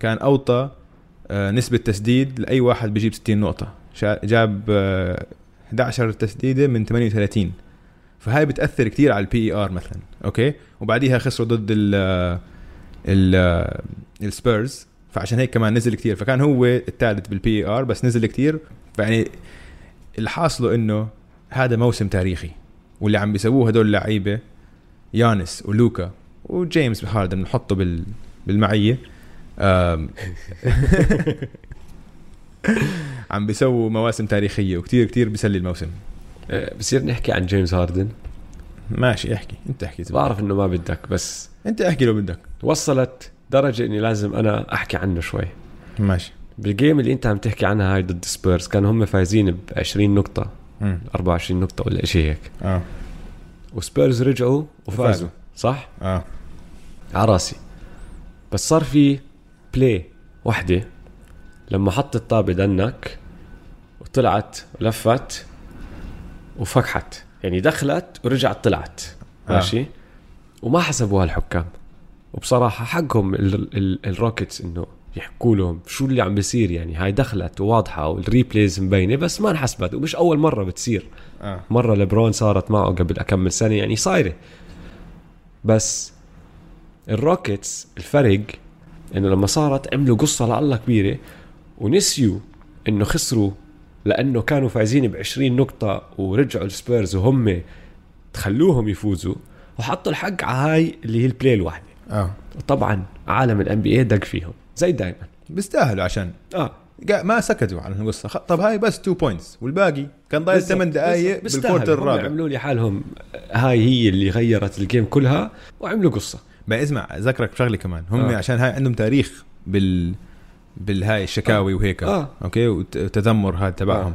C: كان اوطى آه نسبة تسديد لأي واحد بيجيب 60 نقطة شا- جاب آه 11 تسديدة من 38 فهاي بتأثر كتير على E البي ار مثلا اوكي وبعديها خسروا ضد ال آه، ال آه، السبيرز فعشان هيك كمان نزل كتير فكان هو الثالث بالبي ار بس نزل كتير فيعني اللي حاصله انه هذا موسم تاريخي واللي عم بيسووه هدول اللعيبه يانس ولوكا وجيمس هاردن نحطه بال بالمعيه آم، عم بيسووا مواسم تاريخيه وكتير كتير بيسلي الموسم إيه.
B: آه، بصير نحكي عن جيمس هاردن
C: ماشي احكي انت احكي زلمة.
B: بعرف انه ما بدك بس
C: انت احكي لو بدك
B: وصلت درجة اني لازم انا احكي عنه شوي
C: ماشي
B: بالجيم اللي انت عم تحكي عنها هاي ضد سبيرز كانوا هم فايزين ب 20 نقطة 24 نقطة ولا شيء هيك
C: اه
B: وسبيرز رجعوا
C: وفازوا.
B: وفازوا صح؟
C: اه
B: على راسي بس صار في بلاي وحدة لما حط الطابة دنك وطلعت ولفت وفكحت يعني دخلت ورجعت طلعت
C: آه.
B: ماشي وما حسبوها الحكام وبصراحة حقهم ال- ال- الروكيتس انه يحكوا لهم شو اللي عم بيصير يعني هاي دخلت وواضحة والريبليز مبينة بس ما انحسبت ومش أول مرة بتصير
C: اه
B: مرة لبرون صارت معه قبل أكمل سنة يعني صايرة بس الروكيتس الفرق انه لما صارت عملوا قصة لله كبيرة ونسيوا انه خسروا لانه كانوا فايزين ب 20 نقطة ورجعوا السبيرز وهم تخلوهم يفوزوا وحطوا الحق على هاي اللي هي البلاي الواحدة
C: اه
B: طبعا عالم الان بي اي دق فيهم زي دائما
C: بيستاهلوا عشان
B: اه
C: قا- ما سكتوا عن القصه خ- طب هاي بس 2 بوينتس والباقي كان
B: طيب،
C: ضايل 8 دقائق
B: بالظبط.
C: بالكورت
B: بيستاهلوا. هم
C: الرابع
B: عملوا لي حالهم آه، هاي هي اللي غيرت الجيم كلها وعملوا قصه
C: ما اسمع ذكرك بشغله كمان هم
B: آه.
C: عشان هاي عندهم تاريخ بال بالهاي الشكاوي وهيك
B: آه.
C: اوكي وت- وتذمر هذا تبعهم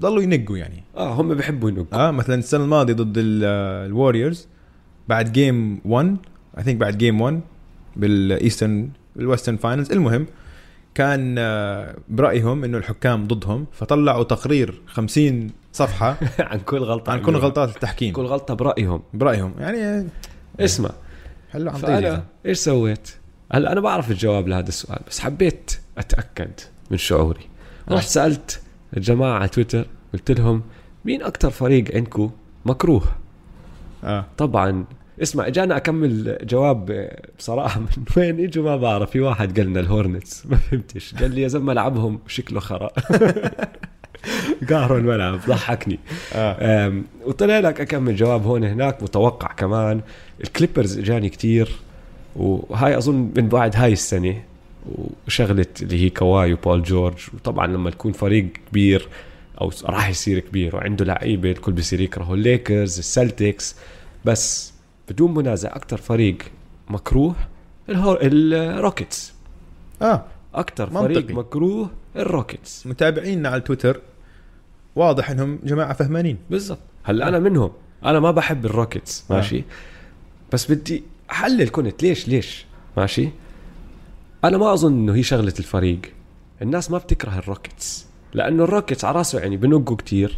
C: ضلوا ينقوا يعني
B: اه هم بحبوا ينقوا
C: اه مثلا السنه الماضيه ضد الوريورز بعد جيم 1 اي ثينك بعد جيم 1 بالايسترن بالويسترن فاينلز المهم كان آه، برايهم انه الحكام ضدهم فطلعوا تقرير 50 صفحه
B: عن كل غلطه
C: عن كل
B: عملوها.
C: يعني غلطات التحكيم
B: أيوه. كل غلطه برايهم
C: برايهم يعني
B: اسمع
C: حلو عم
B: فانا ايش سويت؟ هلا انا بعرف الجواب لهذا السؤال بس حبيت اتاكد من شعوري
C: آه.
B: رحت سالت الجماعه على تويتر قلت لهم مين اكثر فريق عندكم مكروه
C: اه
B: طبعا اسمع اجانا اكمل جواب بصراحه من وين اجوا ما بعرف في واحد قال لنا الهورنتس ما فهمتش قال لي يا زلمه لعبهم شكله خرا قهروا الملعب ضحكني
C: اه
B: أم، وطلع لك اكمل جواب هون هناك متوقع كمان الكليبرز اجاني كتير وهاي اظن من بعد هاي السنه وشغله اللي هي كواي وبول جورج وطبعا لما تكون فريق كبير او س- راح يصير كبير وعنده لعيبه الكل بصير يكرهوا الليكرز السلتكس بس بدون منازع اكثر فريق مكروه الهور... الروكيتس
C: اه
B: اكثر فريق
C: منطقي.
B: مكروه الروكيتس
C: متابعينا على تويتر واضح انهم جماعه فهمانين
B: بالضبط هلا انا منهم انا ما بحب الروكيتس
C: آه.
B: ماشي بس بدي احلل كنت ليش ليش ماشي انا ما اظن انه هي شغله الفريق الناس ما بتكره الروكيتس لانه الروكيتس على راسه يعني بنقوا كتير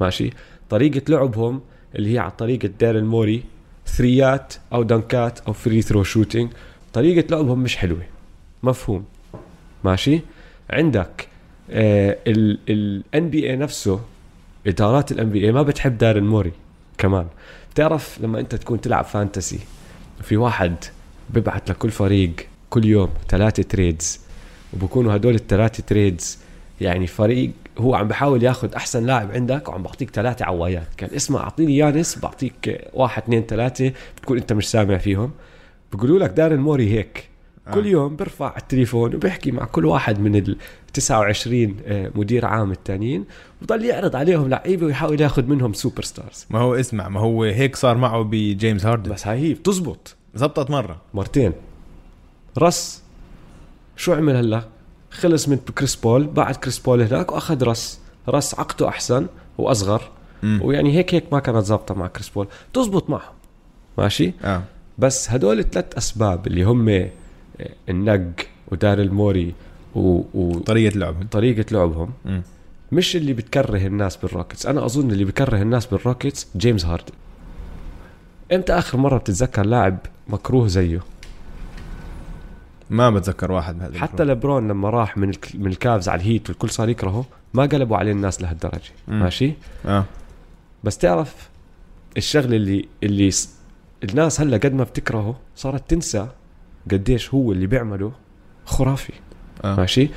B: ماشي طريقه لعبهم اللي هي على طريقه ديرن موري ثريات او دنكات او فري ثرو شوتينج طريقه لعبهم مش حلوه مفهوم ماشي عندك آه، الان بي اي نفسه ادارات الان بي اي ما بتحب دارن موري كمان بتعرف لما انت تكون تلعب فانتسي في واحد ببعت لكل فريق كل يوم ثلاثة تريدز وبكونوا هدول الثلاثة تريدز يعني فريق هو عم بحاول ياخذ احسن لاعب عندك وعم بعطيك ثلاثة عوايات كان اسمع اعطيني يانس بعطيك واحد اثنين ثلاثة بتكون انت مش سامع فيهم بيقولوا لك دارن موري هيك
C: آه.
B: كل يوم برفع التليفون وبيحكي مع كل واحد من ال 29 آه، مدير عام التانيين وضل يعرض عليهم لعيبه ويحاول ياخذ منهم سوبر ستارز
C: ما هو اسمع ما هو هيك صار معه بجيمس هاردن
B: بس هاي هي بتزبط
C: زبطت مره
B: مرتين رس شو عمل هلا خلص من كريس بول بعد كريس بول هناك واخذ رس رس عقده احسن واصغر
C: مم.
B: ويعني هيك هيك ما كانت ظابطه مع كريس بول تزبط معهم ماشي
C: اه
B: بس هدول الثلاث اسباب اللي هم آه، النق ودار الموري و... و...
C: طريقه لعبهم
B: طريقه لعبهم
C: مم.
B: مش اللي بتكره الناس بالروكيتس انا اظن اللي بكره الناس بالروكيتس جيمس هاردن امتى اخر مره بتتذكر لاعب مكروه زيه
C: ما بتذكر واحد بهذا
B: حتى لبرون لما راح من الك... من الكافز على الهيت والكل صار يكرهه ما قلبوا عليه الناس لهالدرجه
C: مم.
B: ماشي
C: اه
B: بس تعرف الشغله اللي اللي س... الناس هلا قد ما بتكرهه صارت تنسى قديش هو اللي بيعمله خرافي
C: اه
B: ماشي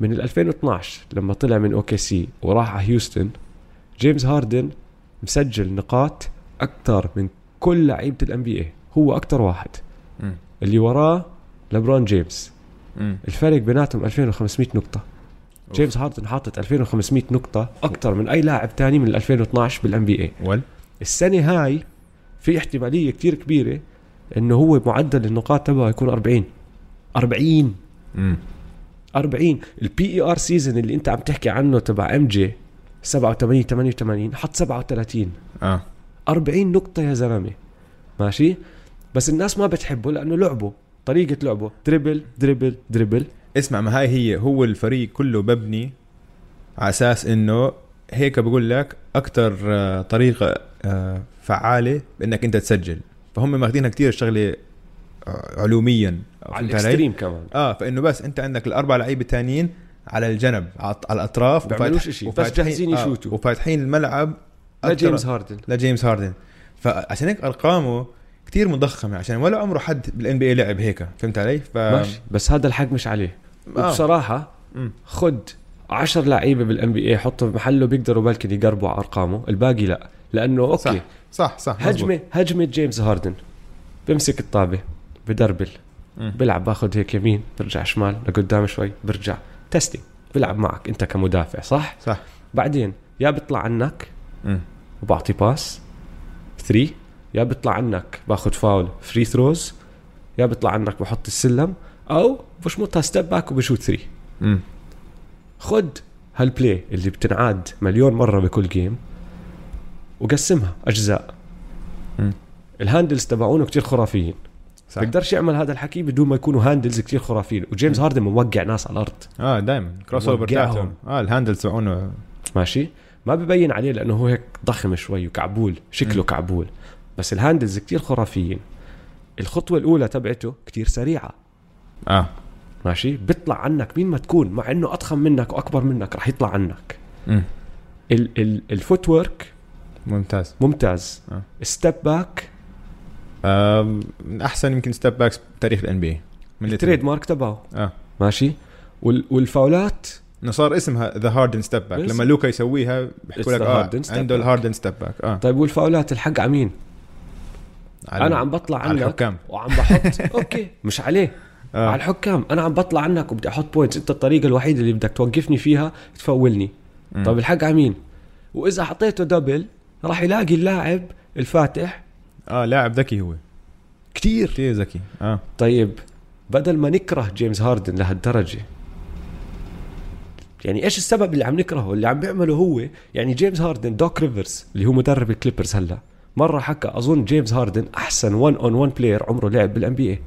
B: من ال 2012 لما طلع من اوكي سي وراح على هيوستن جيمس هاردن مسجل نقاط اكثر من كل لعيبه الان بي اي هو اكثر واحد
C: مم.
B: اللي وراه لبرون جيمس
C: مم.
B: الفرق بيناتهم 2500 نقطة
C: أوف.
B: جيمس هاردن حاطط 2500 نقطة أكثر من أي لاعب تاني من 2012 بالان بي إيه. اي
C: ول
B: السنة هاي في احتمالية كتير كبيرة إنه هو معدل النقاط تبعه يكون 40 40
C: مم.
B: 40 البي اي ار سيزون E اللي انت عم تحكي عنه تبع ام جي 87 88 حط 37
C: اه
B: 40 نقطة يا زلمة ماشي بس الناس ما بتحبه لأنه لعبه طريقة لعبه دربل دربل دربل
C: اسمع ما هاي هي هو الفريق كله مبني على اساس انه هيك بقول لك اكثر طريقه آه، فعاله بانك انت تسجل فهم ماخذينها كثير شغله آه، علوميا
B: على
C: فهمت علي؟
B: الاكستريم كمان
C: اه فانه بس انت عندك الاربع لعيبه تانيين على الجنب على الط- على الاطراف
B: بيعملوش
C: وفاتح-
B: إشي، بس
C: وفاتحين-
B: جاهزين يشوتوا.
C: آه وفاتحين الملعب
B: لا
C: أكتر-
B: جيمس هاردن
C: لجيمس هاردن فعشان هيك ارقامه كتير مضخمه عشان ولا عمره حد بالان بي اي لعب هيك فهمت علي؟ ف
B: ماشي بس هذا الحق مش عليه
C: آه.
B: وبصراحة
C: مم.
B: خد 10 لعيبة بالان بي اي حطهم بمحله بيقدروا بالكن يقربوا على ارقامه الباقي لا لانه اوكي
C: صح صح صح مزبوط.
B: هجمه هجمه جيمس هاردن بمسك الطابه بدربل
C: مم.
B: بلعب باخذ هيك يمين برجع شمال لقدام شوي برجع تستي بلعب معك انت كمدافع صح
C: صح
B: بعدين يا بيطلع عنك
C: مم.
B: وبعطي باس 3 يا بيطلع عنك باخذ فاول فري ثروز يا بيطلع عنك بحط السلم او بشمطها ستيب باك وبشوت 3
C: مم.
B: خد هالبلاي اللي بتنعاد مليون مرة بكل جيم وقسمها أجزاء
C: مم.
B: الهاندلز تبعونه كتير خرافيين
C: صح
B: بقدرش يعمل هذا الحكي بدون ما يكونوا هاندلز كتير خرافيين وجيمس هاردن موقع ناس على الأرض
C: آه، اه دائما كروس اوفر
B: وقعهم.
C: بتاعتهم اه الهاندل تبعونه
B: ماشي ما ببين عليه لانه هو هيك ضخم شوي وكعبول شكله
C: مم.
B: كعبول بس الهاندلز كتير خرافيين الخطوه الاولى تبعته كتير سريعه
C: اه
B: ماشي بيطلع عنك مين ما تكون مع انه اضخم منك واكبر منك رح يطلع عنك
C: مم.
B: ال- ال- الفوت ورك
C: ممتاز
B: ممتاز
C: آه.
B: ستيب باك
C: آه، من احسن يمكن ستيب باكس بتاريخ الان بي من
B: التريد مارك تبعه
C: اه
B: ماشي وال- والفاولات
C: انه صار اسمها ذا هاردن ستيب باك
B: بس.
C: لما لوكا يسويها بيحكوا
B: It's
C: لك
B: the
C: اه
B: hardened step
C: عنده
B: back.
C: الهاردن ستيب باك اه
B: طيب والفاولات الحق على مين
C: على-
B: انا عم بطلع
C: على
B: عنك
C: الحكام
B: وعم بحط اوكي مش عليه
C: آه.
B: على الحكام انا عم بطلع عنك وبدي احط بوينتس انت الطريقه الوحيده اللي بدك توقفني فيها تفولني
C: مم.
B: طيب الحق على مين واذا حطيته دبل راح يلاقي اللاعب الفاتح
C: اه لاعب ذكي هو
B: كتير
C: كثير ذكي اه
B: طيب بدل ما نكره جيمس هاردن لهالدرجه يعني ايش السبب اللي عم نكرهه اللي عم بيعمله هو يعني جيمس هاردن دوك ريفرز اللي هو مدرب الكليبرز هلا مره حكى اظن جيمس هاردن احسن 1 اون 1 بلاير عمره لعب بالان بي اي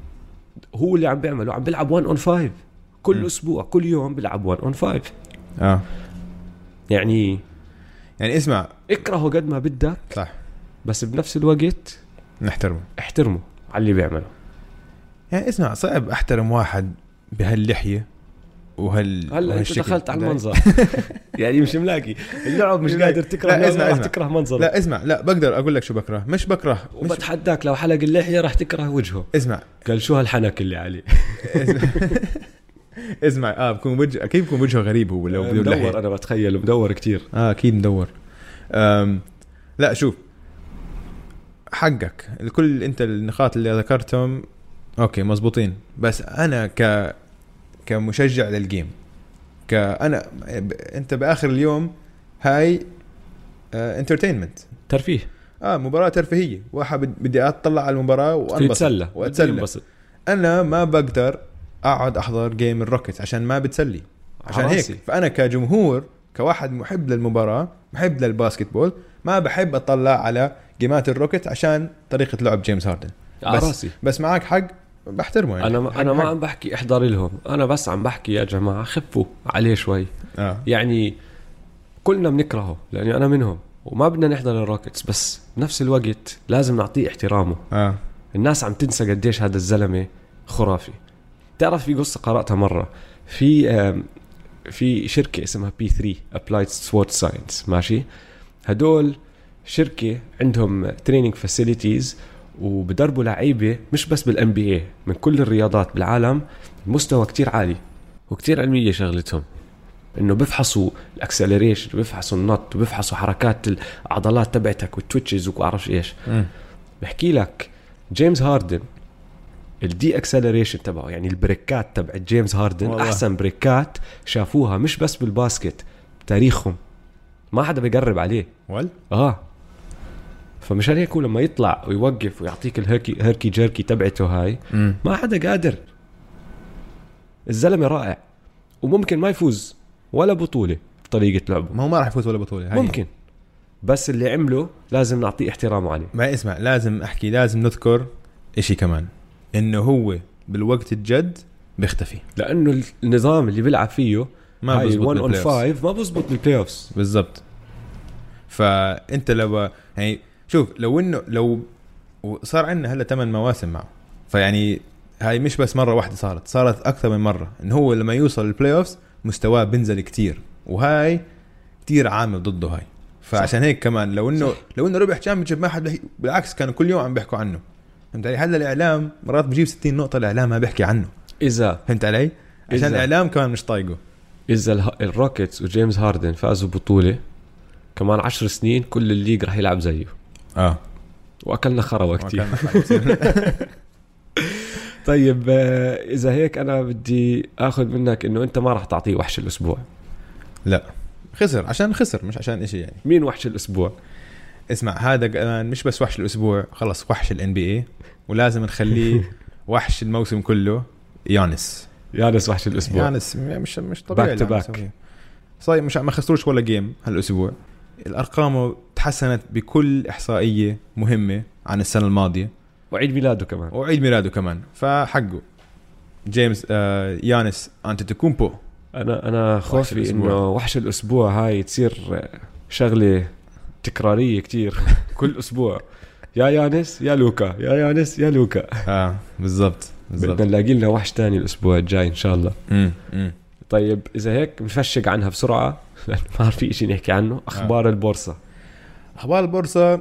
B: هو اللي عم بيعمله عم بيلعب 1 اون 5 كل اسبوع كل يوم بيلعب 1 اون 5
C: اه
B: يعني
C: يعني اسمع
B: اكرهه قد ما بدك
C: صح
B: بس بنفس الوقت
C: نحترمه
B: احترمه على اللي بيعمله
C: يعني اسمع صعب احترم واحد بهاللحيه وهال
B: هلا انت
C: وهالشكل.
B: دخلت على
C: لا،
B: المنظر يعني مش ملاقي اللعب مش
C: ملاقي.
B: قادر تكره
C: لا،
B: لا
C: اسمع،
B: راح
C: اسمع.
B: تكره منظره
C: لا اسمع لا بقدر اقول لك شو بكره مش بكره مش
B: وبتحداك لو حلق اللحيه راح تكره وجهه
C: اسمع
B: قال شو هالحنك اللي عليه
C: اسمع اه بكون وجه اكيد بكون وجهه غريب هو لو بدون لحيه
B: آه، مدور انا بتخيل مدور كتير
C: اه اكيد مدور أم لا شوف حقك الكل انت النقاط اللي ذكرتهم اوكي مزبوطين بس انا ك كمشجع للجيم كانا ب... انت باخر اليوم هاي انترتينمنت
B: ترفيه
C: اه مباراة ترفيهية واحد بد- بدي اطلع على المباراة وانبسط
B: تتسلى
C: وأتسلى.
B: وتنبسط
C: انا ما بقدر اقعد احضر جيم الروكيتس عشان ما بتسلي عشان هيك فانا كجمهور كواحد محب للمباراه محب للباسكتبول ما بحب اطلع على جيمات الروكيت عشان طريقه لعب جيمس هاردن
B: على
C: بس-
B: راسي
C: بس معك حق بحترمه يعني
B: انا ما انا ما عم بحكي احضر لهم انا بس عم بحكي يا جماعه خفوا عليه شوي
C: آه.
B: يعني كلنا بنكرهه لاني انا منهم وما بدنا نحضر الروكيتس بس بنفس الوقت لازم نعطيه احترامه
C: اه
B: الناس عم تنسى قديش هذا الزلمه خرافي تعرف في قصه قراتها مره في آم، في شركه اسمها بي 3 ابلايد سبورت ساينس ماشي هدول شركه عندهم تريننج فاسيليتيز وبدربوا لعيبه مش بس بالان بي اي من كل الرياضات بالعالم مستوى كتير عالي وكتير علميه شغلتهم انه بفحصوا الاكسلريشن بفحصوا النط وبفحصوا حركات العضلات تبعتك والتويتشز وبعرفش ايش
C: مم.
B: بحكي لك جيمس هاردن الدي اكسلريشن تبعه يعني البريكات تبع جيمس هاردن
C: والله.
B: والله. احسن بريكات شافوها مش بس بالباسكت تاريخهم ما حدا بيقرب عليه
C: ول
B: اه فمشان هيك هو لما يطلع ويوقف ويعطيك الهركي هركي جيركي تبعته هاي ما حدا قادر الزلمه رائع وممكن ما يفوز ولا بطوله بطريقه لعبه
C: ما هو ما راح يفوز ولا بطوله هاي.
B: ممكن بس اللي عمله لازم نعطيه احترامه عليه
C: ما اسمع لازم احكي لازم نذكر اشي كمان انه هو بالوقت الجد بيختفي
B: لانه النظام اللي بيلعب فيه
C: ما بزبط
B: 1 اون
C: بالplayoffs.
B: 5 ما بزبط بالبلاي اوفز
C: بالضبط فانت لو يعني شوف لو انه لو صار عندنا هلا ثمان مواسم معه فيعني هاي مش بس مره واحده صارت صارت اكثر من مره انه هو لما يوصل البلاي اوفز مستواه بينزل كتير وهاي كتير عامل ضده هاي فعشان هيك كمان لو انه لو انه ربح تشامبيونشيب ما حد بحكي بالعكس كانوا كل يوم عم بيحكوا عنه فهمت علي هلا الاعلام مرات بجيب 60 نقطه الاعلام ما بيحكي عنه
B: اذا
C: فهمت علي عشان
B: إذا-
C: الاعلام كمان مش طايقه
B: اذا اله- الروكيتس وجيمس هاردن فازوا بطوله كمان عشر سنين كل الليج رح يلعب زيه
C: اه
B: واكلنا خروا كتير طيب آه، اذا هيك انا بدي اخذ منك انه انت ما رح تعطيه وحش الاسبوع
C: لا خسر عشان خسر مش عشان اشي يعني
B: مين وحش الاسبوع
C: اسمع هذا كمان مش بس وحش الاسبوع خلص وحش الان بي اي ولازم نخليه وحش الموسم كله يانس
B: يانس وحش الاسبوع
C: يانس م- مش مش طبيعي
B: Back
C: اللي
B: to
C: عم
B: back.
C: يسويه. صاير مش عم- ما خسروش ولا جيم هالاسبوع الارقام تحسنت بكل احصائيه مهمه عن السنه الماضيه
B: وعيد ميلاده كمان
C: وعيد ميلاده كمان فحقه جيمس آه يانس انتي تكومبو
B: انا انا
C: وحش
B: خوفي
C: الأسبوع.
B: انه وحش الاسبوع هاي تصير آه، شغله تكراريه كتير كل اسبوع يا يانس يا لوكا يا يانس يا لوكا
C: اه بالضبط
B: بدنا
C: بالضبط
B: نلاقي لنا وحش تاني الاسبوع الجاي ان شاء الله
C: مم، مم.
B: طيب اذا هيك بنفشق عنها بسرعه لانه ما عاد في شيء نحكي عنه
C: آه.
B: اخبار البورصه
C: اخبار البورصه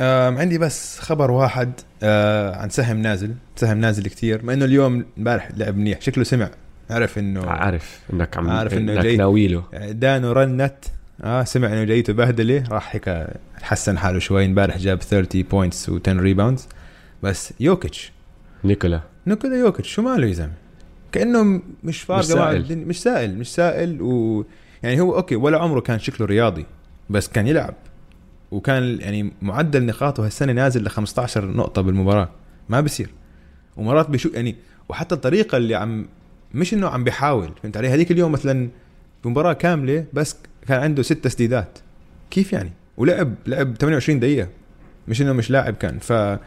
C: آم، عندي بس خبر واحد آه، عن سهم نازل سهم نازل كثير مع انه اليوم امبارح لعب منيح شكله سمع عرف
B: آه.
C: انه
B: عارف انك عم
C: آه. عارف إنه
B: انك
C: جاي.
B: ناوي له
C: دانو رنت اه سمع انه جايته بهدله راح هيك حسن حاله شوي امبارح جاب 30 بوينتس و10 ريباوندز بس يوكيتش
B: نيكولا
C: نيكولا يوكيتش شو ماله يا زلمه؟ كانه مش
B: مش
C: فارقه مع
B: سائل.
C: الدنيا مش سائل مش سائل و يعني هو اوكي ولا عمره كان شكله رياضي بس كان يلعب وكان يعني معدل نقاطه هالسنه نازل ل 15 نقطه بالمباراه ما بصير ومرات بشو يعني وحتى الطريقه اللي عم مش انه عم بيحاول فهمت علي هذيك اليوم مثلا بمباراه كامله بس كان عنده ست تسديدات كيف يعني ولعب لعب 28 دقيقه مش انه مش لاعب كان ف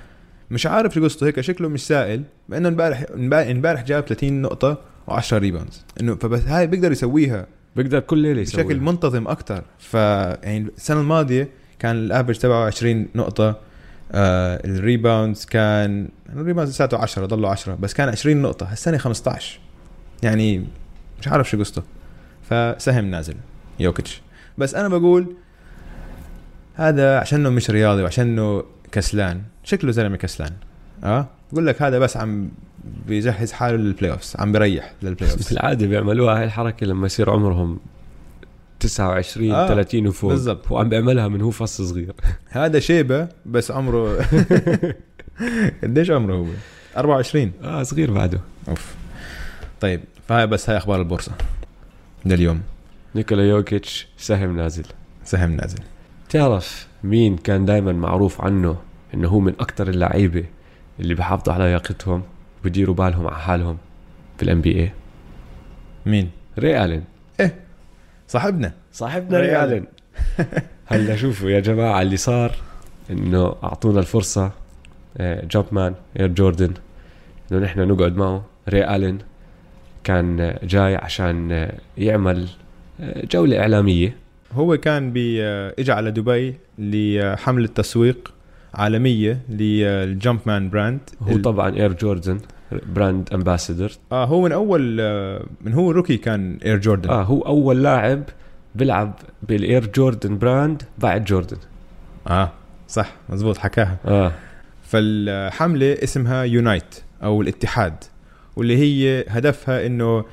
C: مش عارف شو قصته هيك شكله مش سائل مع انه امبارح امبارح جاب 30 نقطه و10 ريباوندز انه فبس هاي بيقدر يسويها
B: بيقدر كل ليله يسوي
C: بشكل منتظم اكثر ف يعني السنه الماضيه كان الافرج تبعه 20 نقطه آه الريباوندز كان الريباوندز لساته 10 ضلوا 10 بس كان 20 نقطه هالسنه 15 يعني مش عارف شو قصته فسهم نازل يوكيتش بس انا بقول هذا عشانه مش رياضي وعشانه كسلان شكله زلمه كسلان اه بقول لك هذا بس عم بيجهز حاله للبلاي اوفز عم بريح للبلاي اوفز
B: بالعاده بيعملوها هاي الحركه لما يصير عمرهم 29
C: آه،
B: آه 30 وفوق
C: بالضبط.
B: وعم بيعملها من هو فص صغير
C: هذا شيبه بس عمره قديش عمره هو؟ 24
B: اه صغير بعده
C: اوف طيب فهاي بس هاي اخبار البورصه لليوم
B: نيكولا يوكيتش سهم نازل
C: سهم نازل
B: تعرف مين كان دائما معروف عنه انه هو من اكثر اللعيبه اللي بحافظوا على لياقتهم بديروا بالهم على حالهم بالان بي اي
C: مين؟
B: ري الين
C: صاحبنا
B: صاحبنا
C: ري
B: ري
C: آلين.
B: الين هلا شوفوا يا جماعه اللي صار انه اعطونا الفرصه آه، جاب مان اير جوردن انه نحن نقعد معه ري الين كان آه، جاي عشان آه، يعمل آه، جوله اعلاميه
C: هو كان بي آه، اجى على دبي لحمله تسويق عالميه للجمب مان براند
B: هو طبعا اير جوردن براند امباسادور
C: اه هو من اول آه، من هو روكي كان اير جوردن آه.
B: اه هو اول لاعب بيلعب بالاير جوردن براند بعد جوردن
C: اه صح مزبوط حكاها
B: اه
C: فالحملة اسمها يونايت أو الاتحاد واللي هي هدفها إنه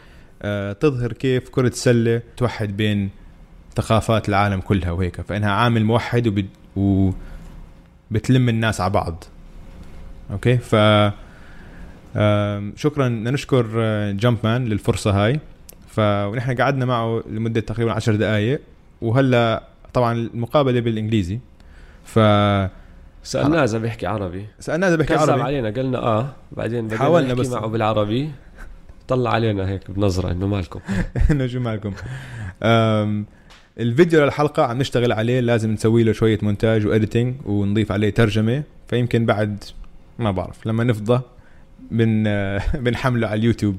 C: آه، تظهر كيف كرة السلة توحد بين ثقافات العالم كلها وهيك فإنها عامل موحد وبت... و... بتلم الناس على بعض أوكي ف آم، شكرا بدنا نشكر جمب مان للفرصة هاي ف... ونحن قعدنا معه لمدة تقريبا عشر دقائق وهلا طبعا المقابلة بالإنجليزي ف
B: سالناه اذا بيحكي عربي
C: سألناه إذا بحكي
B: كذب
C: عربي
B: علينا قلنا اه بعدين بدنا
C: حاولنا
B: نحكي
C: بس.
B: معه بالعربي طلع علينا هيك بنظره انه مالكم
C: انه شو مالكم أم، الفيديو للحلقه عم نشتغل عليه لازم نسوي له شويه مونتاج واديتنج ونضيف عليه ترجمه فيمكن بعد ما بعرف لما نفضى بن بنحمله على اليوتيوب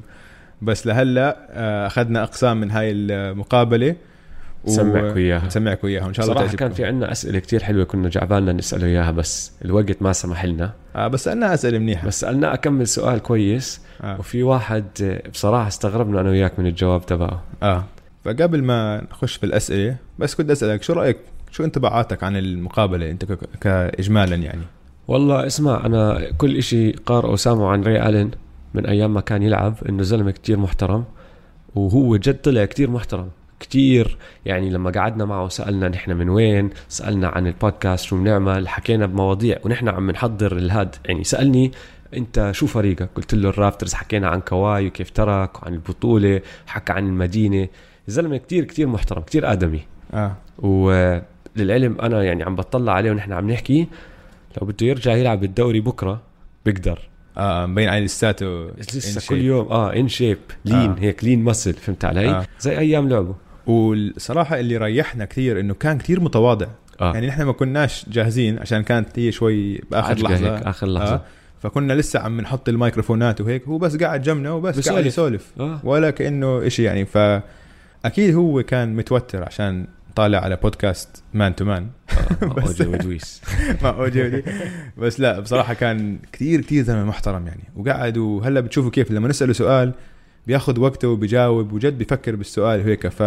C: بس لهلا آه، اخذنا اقسام من هاي المقابله و-
B: سمعكم اياها
C: نسمعكم اياها ان شاء الله
B: صراحه
C: تعجبكم
B: كان في عندنا اسئله كتير حلوه كنا جعبالنا نساله اياها بس الوقت ما سمح لنا
C: آه بس انا اسئله منيحه
B: بس سالناه اكمل سؤال كويس
C: آه.
B: وفي واحد آه، بصراحه استغربنا انا وياك من الجواب تبعه
C: اه فقبل ما نخش في الاسئله بس كنت اسالك شو رايك شو انطباعاتك عن المقابله انت ك- كاجمالا يعني
B: والله اسمع انا كل اشي قارئه وسامعه عن ري الين من ايام ما كان يلعب انه زلمه كتير محترم وهو جد طلع كتير محترم كتير يعني لما قعدنا معه سالنا نحن من وين سالنا عن البودكاست شو بنعمل حكينا بمواضيع ونحن عم نحضر الهاد يعني سالني انت شو فريقك قلت له الرافترز حكينا عن كواي وكيف ترك وعن البطوله حكى عن المدينه زلمه كتير كتير محترم كتير ادمي
C: اه
B: وللعلم انا يعني عم بطلع عليه ونحن عم نحكي لو بده يرجع يلعب الدوري بكره بيقدر
C: اه مبين عليه لساته in shape.
B: لسه كل يوم اه ان شيب لين
C: آه.
B: آه. هيك لين مسل فهمت علي
C: آه.
B: آه. زي ايام لعبه
C: والصراحه اللي ريحنا كثير انه كان كثير متواضع آه.
B: آه.
C: يعني نحن ما كناش جاهزين عشان كانت هي شوي باخر
B: عجقة
C: لحظه
B: هيك اخر لحظه
C: آه. فكنا لسه عم نحط الميكروفونات وهيك هو بس قاعد جنبنا وبس قاعد
B: بيسولف.
C: يسولف
B: آه.
C: ولا كانه إشي يعني فاكيد هو كان متوتر عشان طالع على بودكاست مان تو مان
B: آه، مع
C: بس.
B: اوجي ودويس
C: مع اوجي ودي بس لا بصراحه كان كثير كثير زلمه محترم يعني وقعد وهلا بتشوفوا كيف لما نساله سؤال بياخذ وقته وبيجاوب وجد بيفكر بالسؤال وهيك ف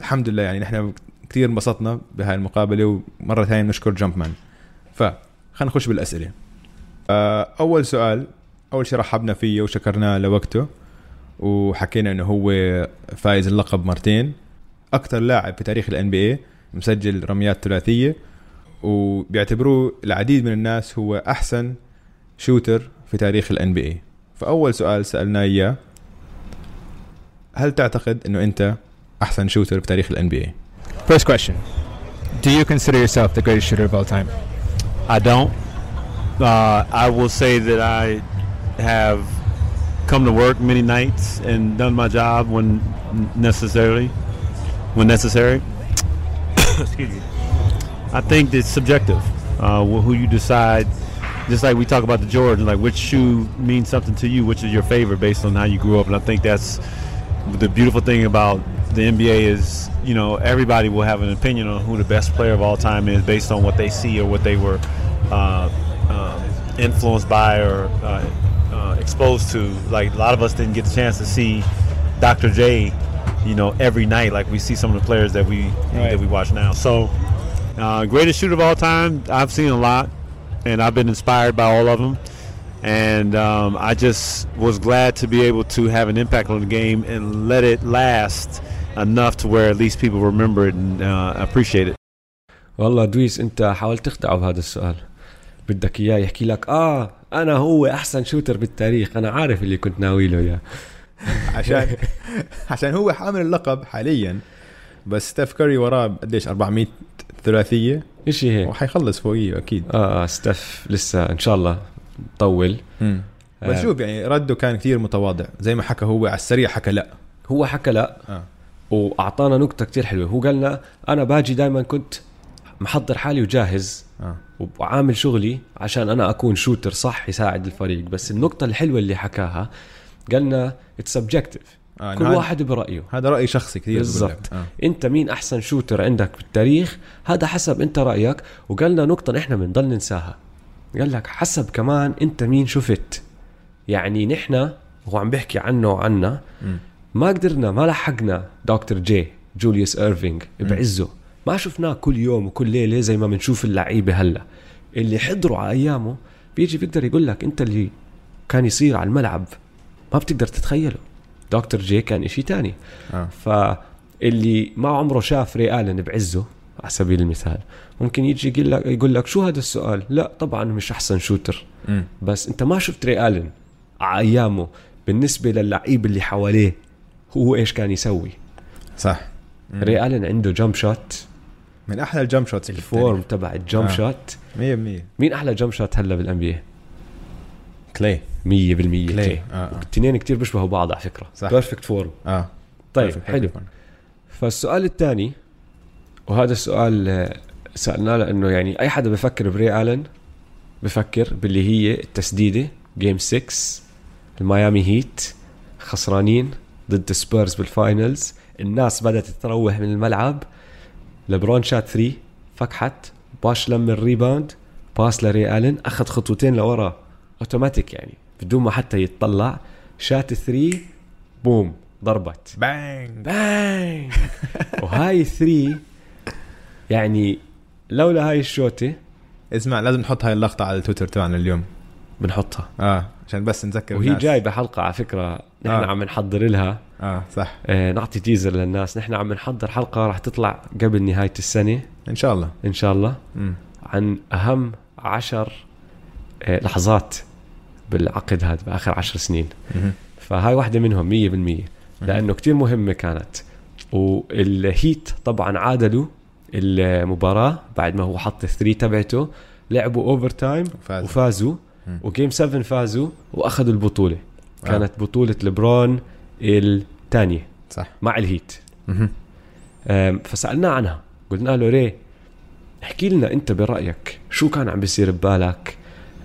C: الحمد لله يعني نحن كثير انبسطنا بهاي المقابله ومره ثانيه بنشكر جمب مان ف خلينا نخش بالاسئله آه، اول سؤال اول شيء رحبنا فيه وشكرناه لوقته وحكينا انه هو فايز اللقب مرتين اكثر لاعب في تاريخ الان بي اي مسجل رميات ثلاثيه وبيعتبروه العديد من الناس هو احسن شوتر في تاريخ الان بي اي فاول سؤال سالناه اياه هل تعتقد انه انت احسن شوتر في تاريخ الان بي اي
D: First question Do you consider yourself the greatest shooter of all time?
E: I don't. Uh, I will say that I have come to work many nights and done my job when necessarily when necessary. Excuse me. I think it's subjective. Uh, wh- who you decide, just like we talk about the Jordan, like which shoe means something to you, which is your favorite based on how you grew up. And I think that's the beautiful thing about the NBA is, you know, everybody will have an opinion on who the best player of all time is based on what they see or what they were uh, um, influenced by or uh, uh, exposed to. Like a lot of us didn't get the chance to see Dr. J, you know, every night like we see some of the players that we that we watch now. So, uh, greatest shooter of all time. I've seen a lot, and I've been inspired by all of them and um, I just was glad to be able to have an impact on the game and let it last enough to where at least people remember it and uh, appreciate it.
B: والله دويس انت حاولت تخدعه بهذا السؤال بدك اياه يحكي لك اه انا هو احسن شوتر بالتاريخ انا عارف اللي كنت ناوي له اياه
C: عشان عشان هو حامل اللقب حاليا بس ستيف كاري وراه قديش 400 ثلاثيه
B: اشي هيك
C: وحيخلص فوقيه اكيد
B: اه ستف لسه ان شاء الله طول
C: بس
B: آه.
C: شوف يعني رده كان كثير متواضع زي ما حكى هو على السريع حكى لا
B: هو حكى لا
C: آه.
B: واعطانا نكته كتير حلوه هو قالنا انا باجي دائما كنت محضر حالي وجاهز
C: آه.
B: وعامل شغلي عشان انا اكون شوتر صح يساعد الفريق بس النقطه الحلوه اللي حكاها قالنا اتس سبجكتيف
C: آه،
B: كل
C: هذا-
B: واحد برايه
C: هذا راي شخصي كثير بقول لك.
B: بالضبط
C: آه.
B: انت مين احسن شوتر عندك بالتاريخ هذا حسب انت رايك وقالنا نقطه نحن بنضل ننساها قال لك حسب كمان انت مين شفت يعني نحن هو عم بيحكي عنه وعنا ما قدرنا ما لحقنا دكتور جي جوليوس ايرفينج بعزه ما شفناه كل يوم وكل ليله زي ما بنشوف اللعيبه هلا اللي حضروا على ايامه بيجي بيقدر يقول لك انت اللي كان يصير على الملعب ما بتقدر تتخيله دكتور جي كان إشي تاني
C: آه.
B: فاللي ما عمره شاف ري الن بعزه على سبيل المثال ممكن يجي يقول لك يقول لك شو هذا السؤال لا طبعا مش احسن شوتر
C: مم.
B: بس انت ما شفت ري الن على ايامه بالنسبه للعيب اللي حواليه هو ايش كان يسوي
C: صح
B: ري الن عنده جمب شوت
C: من احلى الجمب شوتس
B: الفورم تبع الجمب
C: آه.
B: شوت
C: 100%
B: مين احلى جمب شوت هلا بالانبياء
C: كلي
B: 100% كلي
C: آه، آه.
B: الاثنين كتير بيشبهوا بعض على فكره
C: صح.
B: بيرفكت فورم
C: اه
B: طيب
C: perfect
B: حلو
C: perfect.
B: فالسؤال الثاني وهذا السؤال آه، سالناه لانه يعني اي حدا بفكر بري الن بفكر باللي هي التسديده جيم 6 الميامي هيت خسرانين ضد سبيرز بالفاينلز الناس بدات تتروح من الملعب لبرون شات 3 فكحت باش لم الريباوند باس لري الن اخذ خطوتين لورا اوتوماتيك يعني بدون ما حتى يتطلع شات 3 بوم ضربت
C: بانج
B: بانج وهاي ثري يعني لولا هاي الشوتة
C: اسمع لازم نحط هاي اللقطه على التويتر تبعنا اليوم
B: بنحطها
C: اه عشان بس نذكر
B: وهي
C: الناس.
B: جايبة حلقة على فكرة نحن
C: آه.
B: عم نحضر لها
C: اه صح
B: آه نعطي تيزر للناس نحن عم نحضر حلقة راح تطلع قبل نهاية السنة
C: ان شاء الله
B: إن شاء الله
C: مم.
B: عن أهم عشر آه لحظات بالعقد هذا بآخر عشر سنين
C: مهم.
B: فهاي واحدة منهم مية بالمية لأنه كتير مهمة كانت والهيت طبعا عادلوا المباراة بعد ما هو حط الثري تبعته لعبوا اوفر تايم
C: وفازوا.
B: وفازوا
C: مم.
B: وجيم 7 فازوا واخذوا البطولة
C: واو.
B: كانت بطولة لبرون الثانية
C: صح
B: مع الهيت
C: مهم.
B: أم، فسالناه عنها قلنا له ري احكي لنا انت برايك شو كان عم بيصير ببالك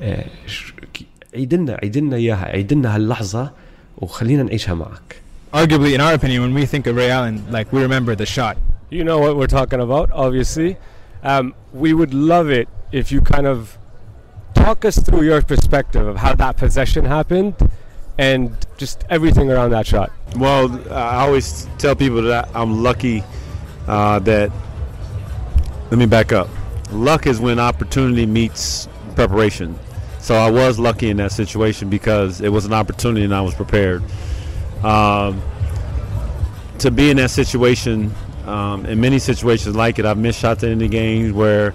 B: أه، ش- كي- عيد لنا عيد لنا اياها عيد لنا هاللحظه وخلينا نعيشها معك
D: Arguably, in our opinion, when we think of Ray Allen, like we remember the shot.
F: you know what we're talking about, obviously. Um, we would love it if you kind of talk us through your perspective of how that possession happened and just everything around that shot.
E: Well, I always tell people that I'm lucky uh, that. Let me back up. Luck is when opportunity meets preparation. So I was lucky in that situation because it was an opportunity and I was prepared. Um, to be in that situation, um, in many situations like it, I've missed shots in the games where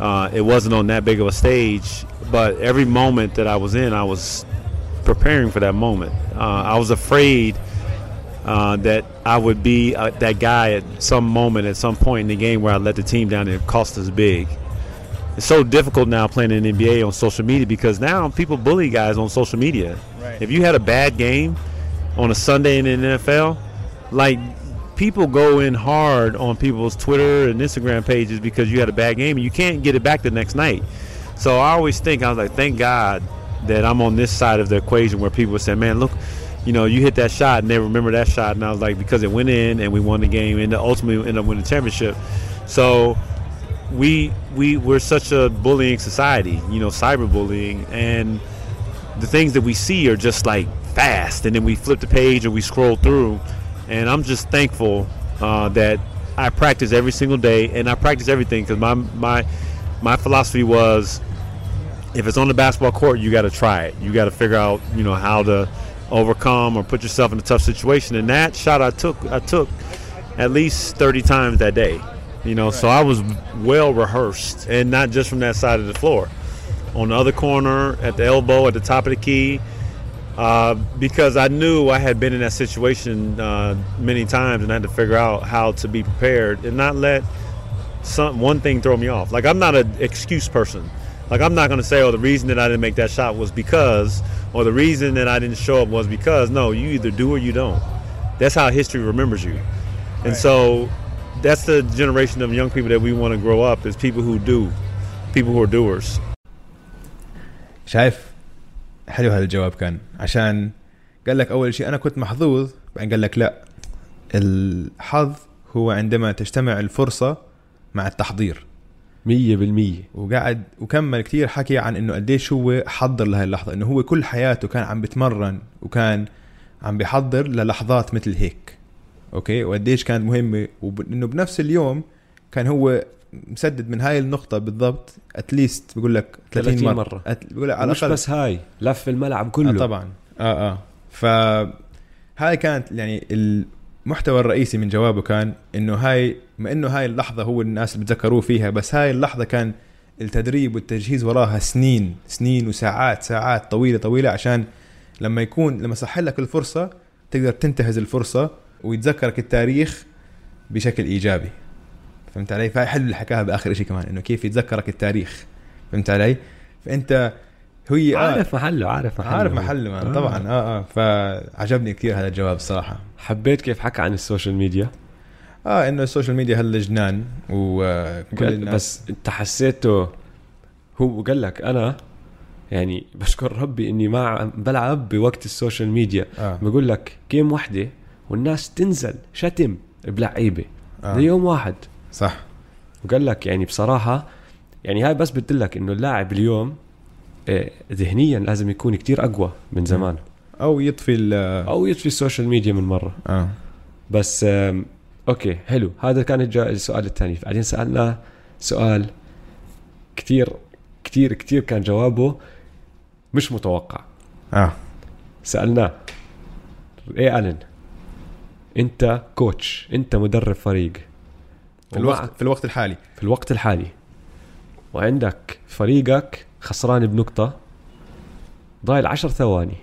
E: uh, it wasn't on that big of a stage, but every moment that I was in, I was preparing for that moment. Uh, I was afraid uh, that I would be uh, that guy at some moment, at some point in the game where I let the team down and it cost us big. It's so difficult now playing in the NBA on social media because now people bully guys on social media.
C: Right.
E: If you had a bad game on a Sunday in the NFL, like people go in hard on people's Twitter and Instagram pages because you had a bad game and you can't get it back the next night. So I always think I was like, thank God that I'm on this side of the equation where people say, man, look, you know, you hit that shot and they remember that shot, and I was like, because it went in and we won the game and ultimately ended up winning the championship. So we we we're such a bullying society, you know, cyberbullying, and the things that we see are just like fast, and then we flip the page or we scroll through, and I'm just thankful uh, that I practice every single day, and I practice everything because my my my philosophy was if it's on the basketball court, you got to try it. You got to figure out, you know, how to overcome or put yourself in a tough situation. And that shot I took, I took at least 30 times that day. You know, so I was well rehearsed, and not just from that side of the floor, on the other corner, at the elbow, at the top of the key, uh, because I knew I had been in that situation uh, many times, and I had to figure out how to be prepared and not let some one thing throw me off. Like I'm not an excuse person. Like I'm not gonna say, oh, the reason that I didn't make that shot was because, or the reason that I didn't show up was because. No, you either do or you don't. That's how history remembers you. And so, that's the generation of young people that we want to grow up is people who do, people who are doers.
C: شايف حلو هذا الجواب كان عشان قال لك اول شيء انا كنت محظوظ بعدين قال لك لا الحظ هو عندما تجتمع الفرصه مع التحضير
B: مية بالمية
C: وقعد وكمل كتير حكي عن انه قديش هو حضر لهي اللحظه انه هو كل حياته كان عم بتمرن وكان عم بيحضر للحظات مثل هيك اوكي وقديش كانت مهمه وانه بنفس اليوم كان هو مسدد من هاي النقطه بالضبط اتليست بقول لك 30,
B: 30
C: مره,
B: مرة.
C: أت... بقول لك على
B: مش
C: الاقل
B: بس هاي لف الملعب
C: آه
B: كله
C: طبعا اه اه ف هاي كانت يعني المحتوى الرئيسي من جوابه كان انه هاي ما انه هاي اللحظه هو الناس اللي بتذكروه فيها بس هاي اللحظه كان التدريب والتجهيز وراها سنين سنين وساعات ساعات طويله طويله عشان لما يكون لما صح لك الفرصه تقدر تنتهز الفرصه ويتذكرك التاريخ بشكل ايجابي فهمت علي؟ فهي حلو اللي حكاها باخر شيء كمان انه كيف يتذكرك التاريخ فهمت علي؟ فانت هي آه،
B: عارف محله عارف محله
C: عارف محله
B: آه.
C: مان طبعا اه اه فعجبني كثير هذا الجواب الصراحه
B: حبيت كيف حكى عن السوشيال ميديا
C: اه انه السوشيال ميديا هالجنان وكل
B: قال-
C: الناس
B: بس انت حسيته هو قال لك انا يعني بشكر ربي اني ما عم بلعب بوقت السوشيال ميديا
C: آه.
B: بقول لك جيم وحده والناس تنزل شتم بلعيبه
C: آه.
B: آه. ليوم واحد
C: صح
B: وقال لك يعني بصراحه يعني هاي بس بدي لك انه اللاعب اليوم آه، ذهنيا لازم يكون كتير اقوى من زمان
C: او يطفي ال آه،
B: او يطفي السوشيال ميديا من مره
C: اه
B: بس آم، اوكي حلو هذا كان الجا- السؤال الثاني بعدين سالنا سؤال كثير كثير كثير كان جوابه مش متوقع
C: اه
B: سالناه ايه الن انت كوتش انت مدرب فريق
C: في الوقت
B: ومعك-
C: في الوقت الحالي
B: في الوقت الحالي وعندك فريقك خسران بنقطه ضايل عشر ثواني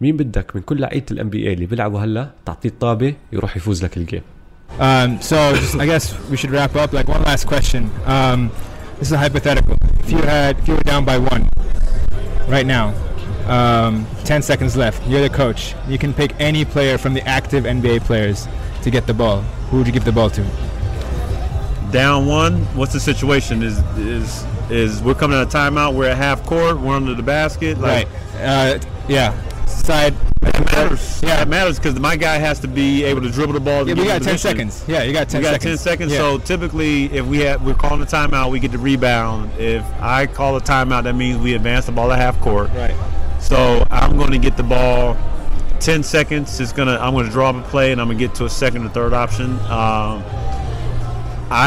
B: مين بدك من كل لعيبه الام بي اي اللي بيلعبوا هلا تعطيه الطابه يروح يفوز لك الجيم
D: Um, so just, I guess we should wrap up. Like one last question. Um, this is a hypothetical. If you had, if you were down by one, right now, um, ten seconds left. You're the coach. You can pick any player from the active NBA players to get the ball. Who would you give the ball to?
E: Down one. What's the situation? Is is is we're coming out of timeout? We're at half court. We're under the basket. Like,
D: right. Uh, yeah. side.
E: It matters. Yeah, it matters because my guy has to be able to dribble the ball. to
D: Yeah,
E: get
D: we
E: in
D: got ten
E: position.
D: seconds. Yeah, you got ten
E: we got
D: seconds.
E: 10 seconds.
D: Yeah.
E: So typically, if we have, we're calling a timeout, we get the rebound. If I call a timeout, that means we advance the ball to half court.
D: right.
E: So I'm going to get the ball. 10 seconds. It's gonna. I'm going to draw up a play, and I'm going to get to a second or third option. Um,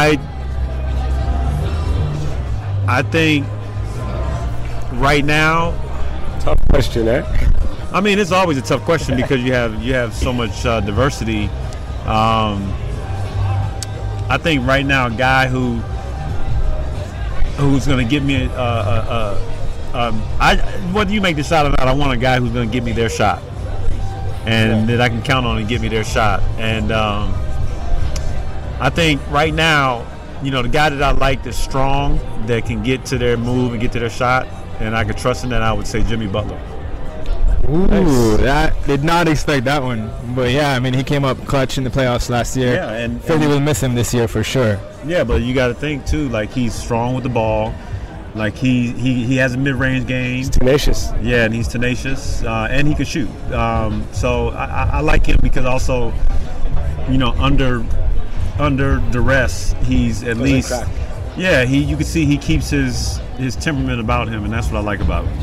E: I. I think. Right now,
F: Tough question, eh?
E: I mean, it's always a tough question because you have you have so much uh, diversity. Um, I think right now, a guy who who's going to give me a, a, a, a, um, I whether you make the shot or not, I want a guy who's going to give me their shot, and that I can count on and give me their shot. And um, I think right now, you know, the guy that I like that's strong, that can get to their move and get to their shot, and I could trust in that. I would say Jimmy Butler.
D: Ooh, that did not expect that one. But yeah, I mean, he came up clutch in the playoffs last year.
E: Yeah, and-
D: Philly will miss him this year for sure.
E: Yeah, but you got to think too. Like he's strong with the ball. Like he he, he has a mid range game.
F: Tenacious.
E: Yeah, and he's tenacious, uh, and he can shoot. Um, so I, I, I like him because also, you know, under under duress, he's at least.
F: crack.
E: Yeah, he you can see he keeps his his temperament about him, and that's what I like about him.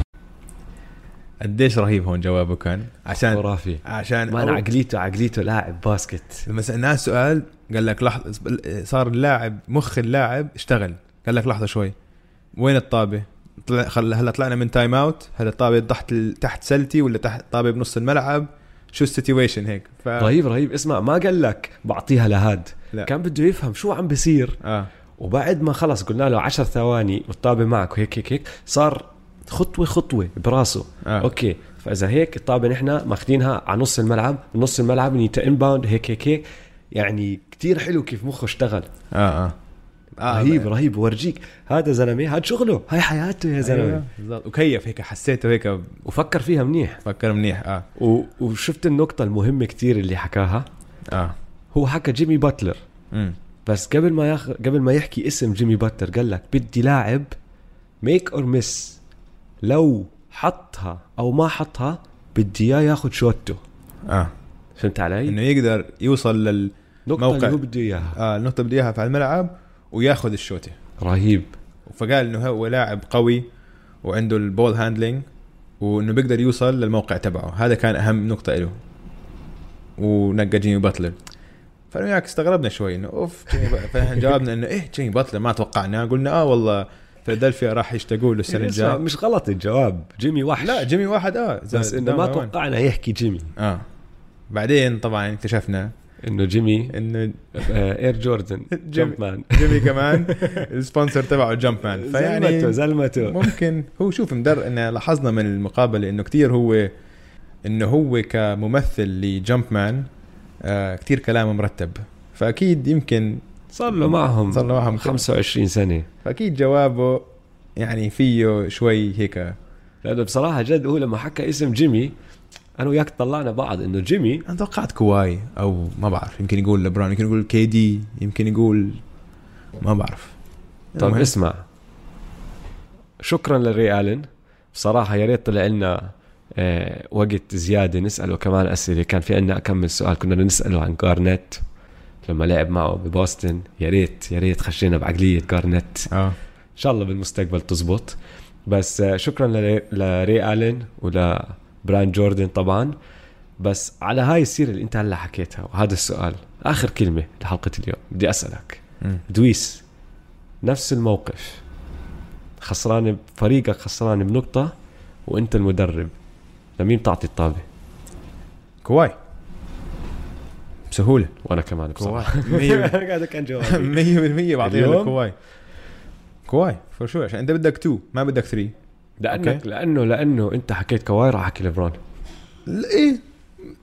C: قديش رهيب هون جوابه كان عشان
B: خرافي
C: عشان
B: مان
C: أول-
B: عقليته عقليته لاعب باسكت
C: لما سالناه سؤال قال لك لحظه صار اللاعب مخ اللاعب اشتغل قال لك لحظه شوي وين الطابه؟ طلع خل... هلا طلعنا من تايم اوت هل الطابه تحت ال... تحت سلتي ولا تحت طابه بنص الملعب شو السيتويشن هيك ف...
B: رهيب رهيب اسمع ما قال لك بعطيها لهاد
C: آه. لا.
B: كان بده يفهم شو عم بيصير
C: اه
B: وبعد ما خلص قلنا له 10 ثواني والطابه معك وهيك هيك هيك صار خطوه خطوه براسه
C: آه.
B: آه. اوكي فاذا هيك الطابه نحن ماخذينها على نص الملعب نص الملعب نيتا انباوند هيك هيك هيك يعني كتير حلو كيف مخه اشتغل
C: اه اه
B: آه رهيب رهيب ورجيك هذا زلمه هذا شغله هاي حياته يا زلمه
C: أيوة،
B: أيوة.
C: بالضبط وكيف هيك حسيته هيك
B: وفكر فيها منيح
C: فكر منيح اه
B: و... وشفت النقطه المهمه كتير اللي حكاها
C: اه
B: هو حكى جيمي باتلر
C: امم
B: بس قبل ما ياخ... قبل ما يحكي اسم جيمي باتلر قال لك بدي لاعب ميك اور مس لو حطها او ما حطها بدي اياه ياخذ شوته
C: اه
B: فهمت علي؟
C: انه يقدر يوصل لل
B: النقطة اللي
C: موقع.
B: هو بده اياها
C: آه النقطه اللي بدي اياها على الملعب وياخذ الشوطه
B: رهيب
C: فقال انه هو لاعب قوي وعنده البول هاندلنج وانه بيقدر يوصل للموقع تبعه هذا كان اهم نقطه له ونقى جيمي باتلر فانا وياك استغربنا شوي انه اوف جيمي باتلر فنحن جاوبنا انه ايه جيمي باتلر ما توقعناه قلنا اه والله فيلادلفيا راح يشتاقوا له السنه
B: اسمع،
C: الجايه
B: إيه، مش غلط الجواب جيمي وحش
C: لا جيمي واحد اه زاد
B: بس انه ما
C: number one.
B: توقعنا يحكي جيمي
C: اه بعدين طبعا اكتشفنا
B: انه جيمي
C: انه
B: آه، اير جوردن
C: جيمي-
B: جمب مان
C: جيمي كمان السبونسر تبعه جامب مان
B: زلمته زلمته
C: ممكن هو شوف مدر ان لاحظنا من المقابله انه كتير هو انه هو كممثل لجمب مان آه كتير كلامه مرتب فاكيد يمكن
B: صار له معهم
C: صار له معهم
B: 25 سنه
C: فاكيد جوابه يعني فيه شوي هيك
B: لانه بصراحه جد هو لما حكى اسم جيمي انا وياك طلعنا بعض انه جيمي
C: انا توقعت كواي او ما بعرف يمكن يقول لبران يمكن يقول كي دي يمكن يقول ما بعرف
B: طب
C: المهم.
B: اسمع شكرا للري الن بصراحه يا ريت طلع لنا آه، وقت زياده نساله كمان اسئله كان في عندنا اكمل سؤال كنا بدنا نساله عن جارنيت لما لعب معه ببوسطن يا ريت يا ريت خشينا بعقليه جارنيت
C: اه
B: ان شاء الله بالمستقبل تزبط بس آه، شكرا لري- لري الن ولبران جوردن طبعا بس على هاي السيره اللي انت هلا حكيتها وهذا السؤال اخر كلمه لحلقه اليوم بدي اسالك
C: مم.
B: دويس نفس الموقف خسران فريقك خسران بنقطه وانت المدرب لمين بتعطي الطابه
C: كواي بسهوله
B: وانا كمان بصراحه
C: كواي
B: هذا كان جوابي
C: 100% بعطيها
B: اليوم؟
C: لكواي كواي فور شو عشان انت بدك 2 ما بدك 3
B: لانك
C: أوكي.
B: لانه لانه انت حكيت كواي راح احكي لبرون
C: ل- ايه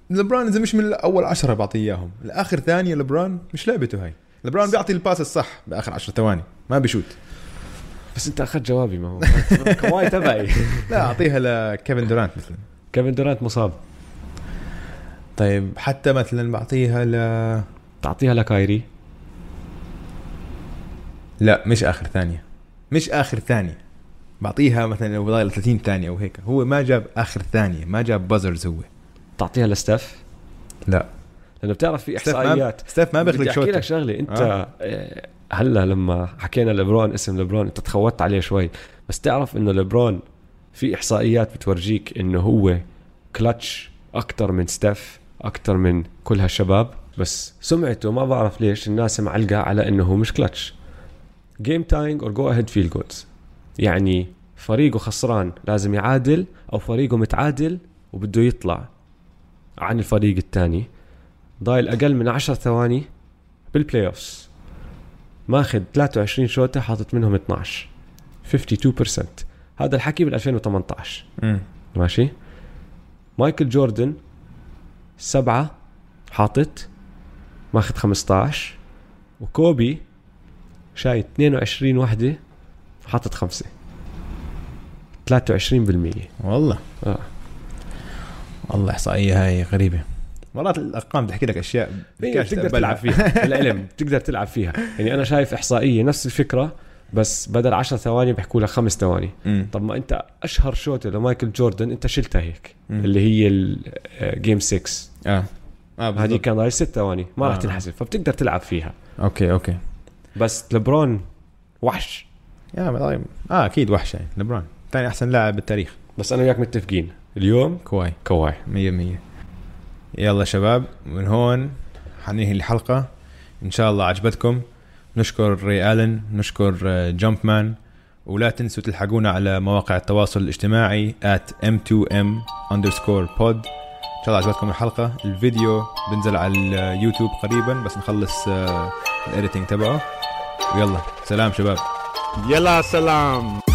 C: لبران اذا مش من اول عشرة بعطيه اياهم الاخر ثانيه لبران مش لعبته هاي لبران بيعطي الباس الصح باخر 10 ثواني ما بيشوت
B: بس انت اخذت جوابي ما هو كواي تبعي
C: لا اعطيها لكيفن دورانت مثلا
B: كيفن دورانت مصاب
C: طيب حتى مثلا بعطيها ل
B: تعطيها لكايري
C: لا مش اخر ثانيه مش اخر ثانيه بعطيها مثلا لو ضايل 30 ثانيه وهيك هو ما جاب اخر ثانيه ما جاب بازرز هو
B: تعطيها لستف
C: لا
B: لانه بتعرف في
C: ستيف ما
B: احصائيات
C: ستيف ما
B: بدي
C: بيخلق
B: احكي لك
C: شوت
B: شغله انت
C: آه.
B: آه. هلا لما حكينا لبرون اسم لبرون انت تخوت عليه شوي بس تعرف انه لبرون في احصائيات بتورجيك انه هو كلتش اكثر من ستيف اكثر من كل هالشباب بس سمعته ما بعرف ليش الناس معلقه على انه هو مش كلتش جيم تاينج اور جو اهيد فيل جولز يعني فريقه خسران لازم يعادل او فريقه متعادل وبده يطلع عن الفريق الثاني ضايل اقل من 10 ثواني بالبلاي اوفس ماخذ 23 شوطه حاطط منهم 12 52% هذا الحكي بال 2018
C: مم.
B: ماشي مايكل جوردن سبعة حاطط ماخذ 15 وكوبي شاي 22 وحدة حاطط خمسة 23%
C: والله
B: آه.
C: والله احصائيه هاي غريبه مرات الارقام تحكي لك اشياء
B: إيه،
C: بدكاش
B: بتقدر
C: بلعب
B: تلعب
C: فيها
B: فيها بالعلم بتقدر تلعب فيها يعني انا شايف احصائيه نفس الفكره بس بدل 10 ثواني بيحكوا لك خمس ثواني
C: مم.
B: طب ما انت اشهر شوطه لمايكل جوردن انت شلتها هيك
C: مم.
B: اللي هي الجيم 6
C: اه اه
B: هذه
C: بالضبط.
B: كان ضايل ست ثواني ما راح
C: آه.
B: تنحسب فبتقدر تلعب فيها
C: اوكي اوكي
B: بس لبرون وحش
C: يا طيب اه اكيد وحش يعني لبران ثاني احسن لاعب بالتاريخ
B: بس انا وياك متفقين اليوم
C: كواي
B: كواي
C: 100% يلا شباب من هون حننهي الحلقة إن شاء الله عجبتكم نشكر ري ألن نشكر جمب مان ولا تنسوا تلحقونا على مواقع التواصل الاجتماعي at m2m underscore pod إن شاء الله عجبتكم الحلقة الفيديو بنزل على اليوتيوب قريبا بس نخلص آه، الإديتنج تبعه ويلا سلام شباب
E: Yalla salam.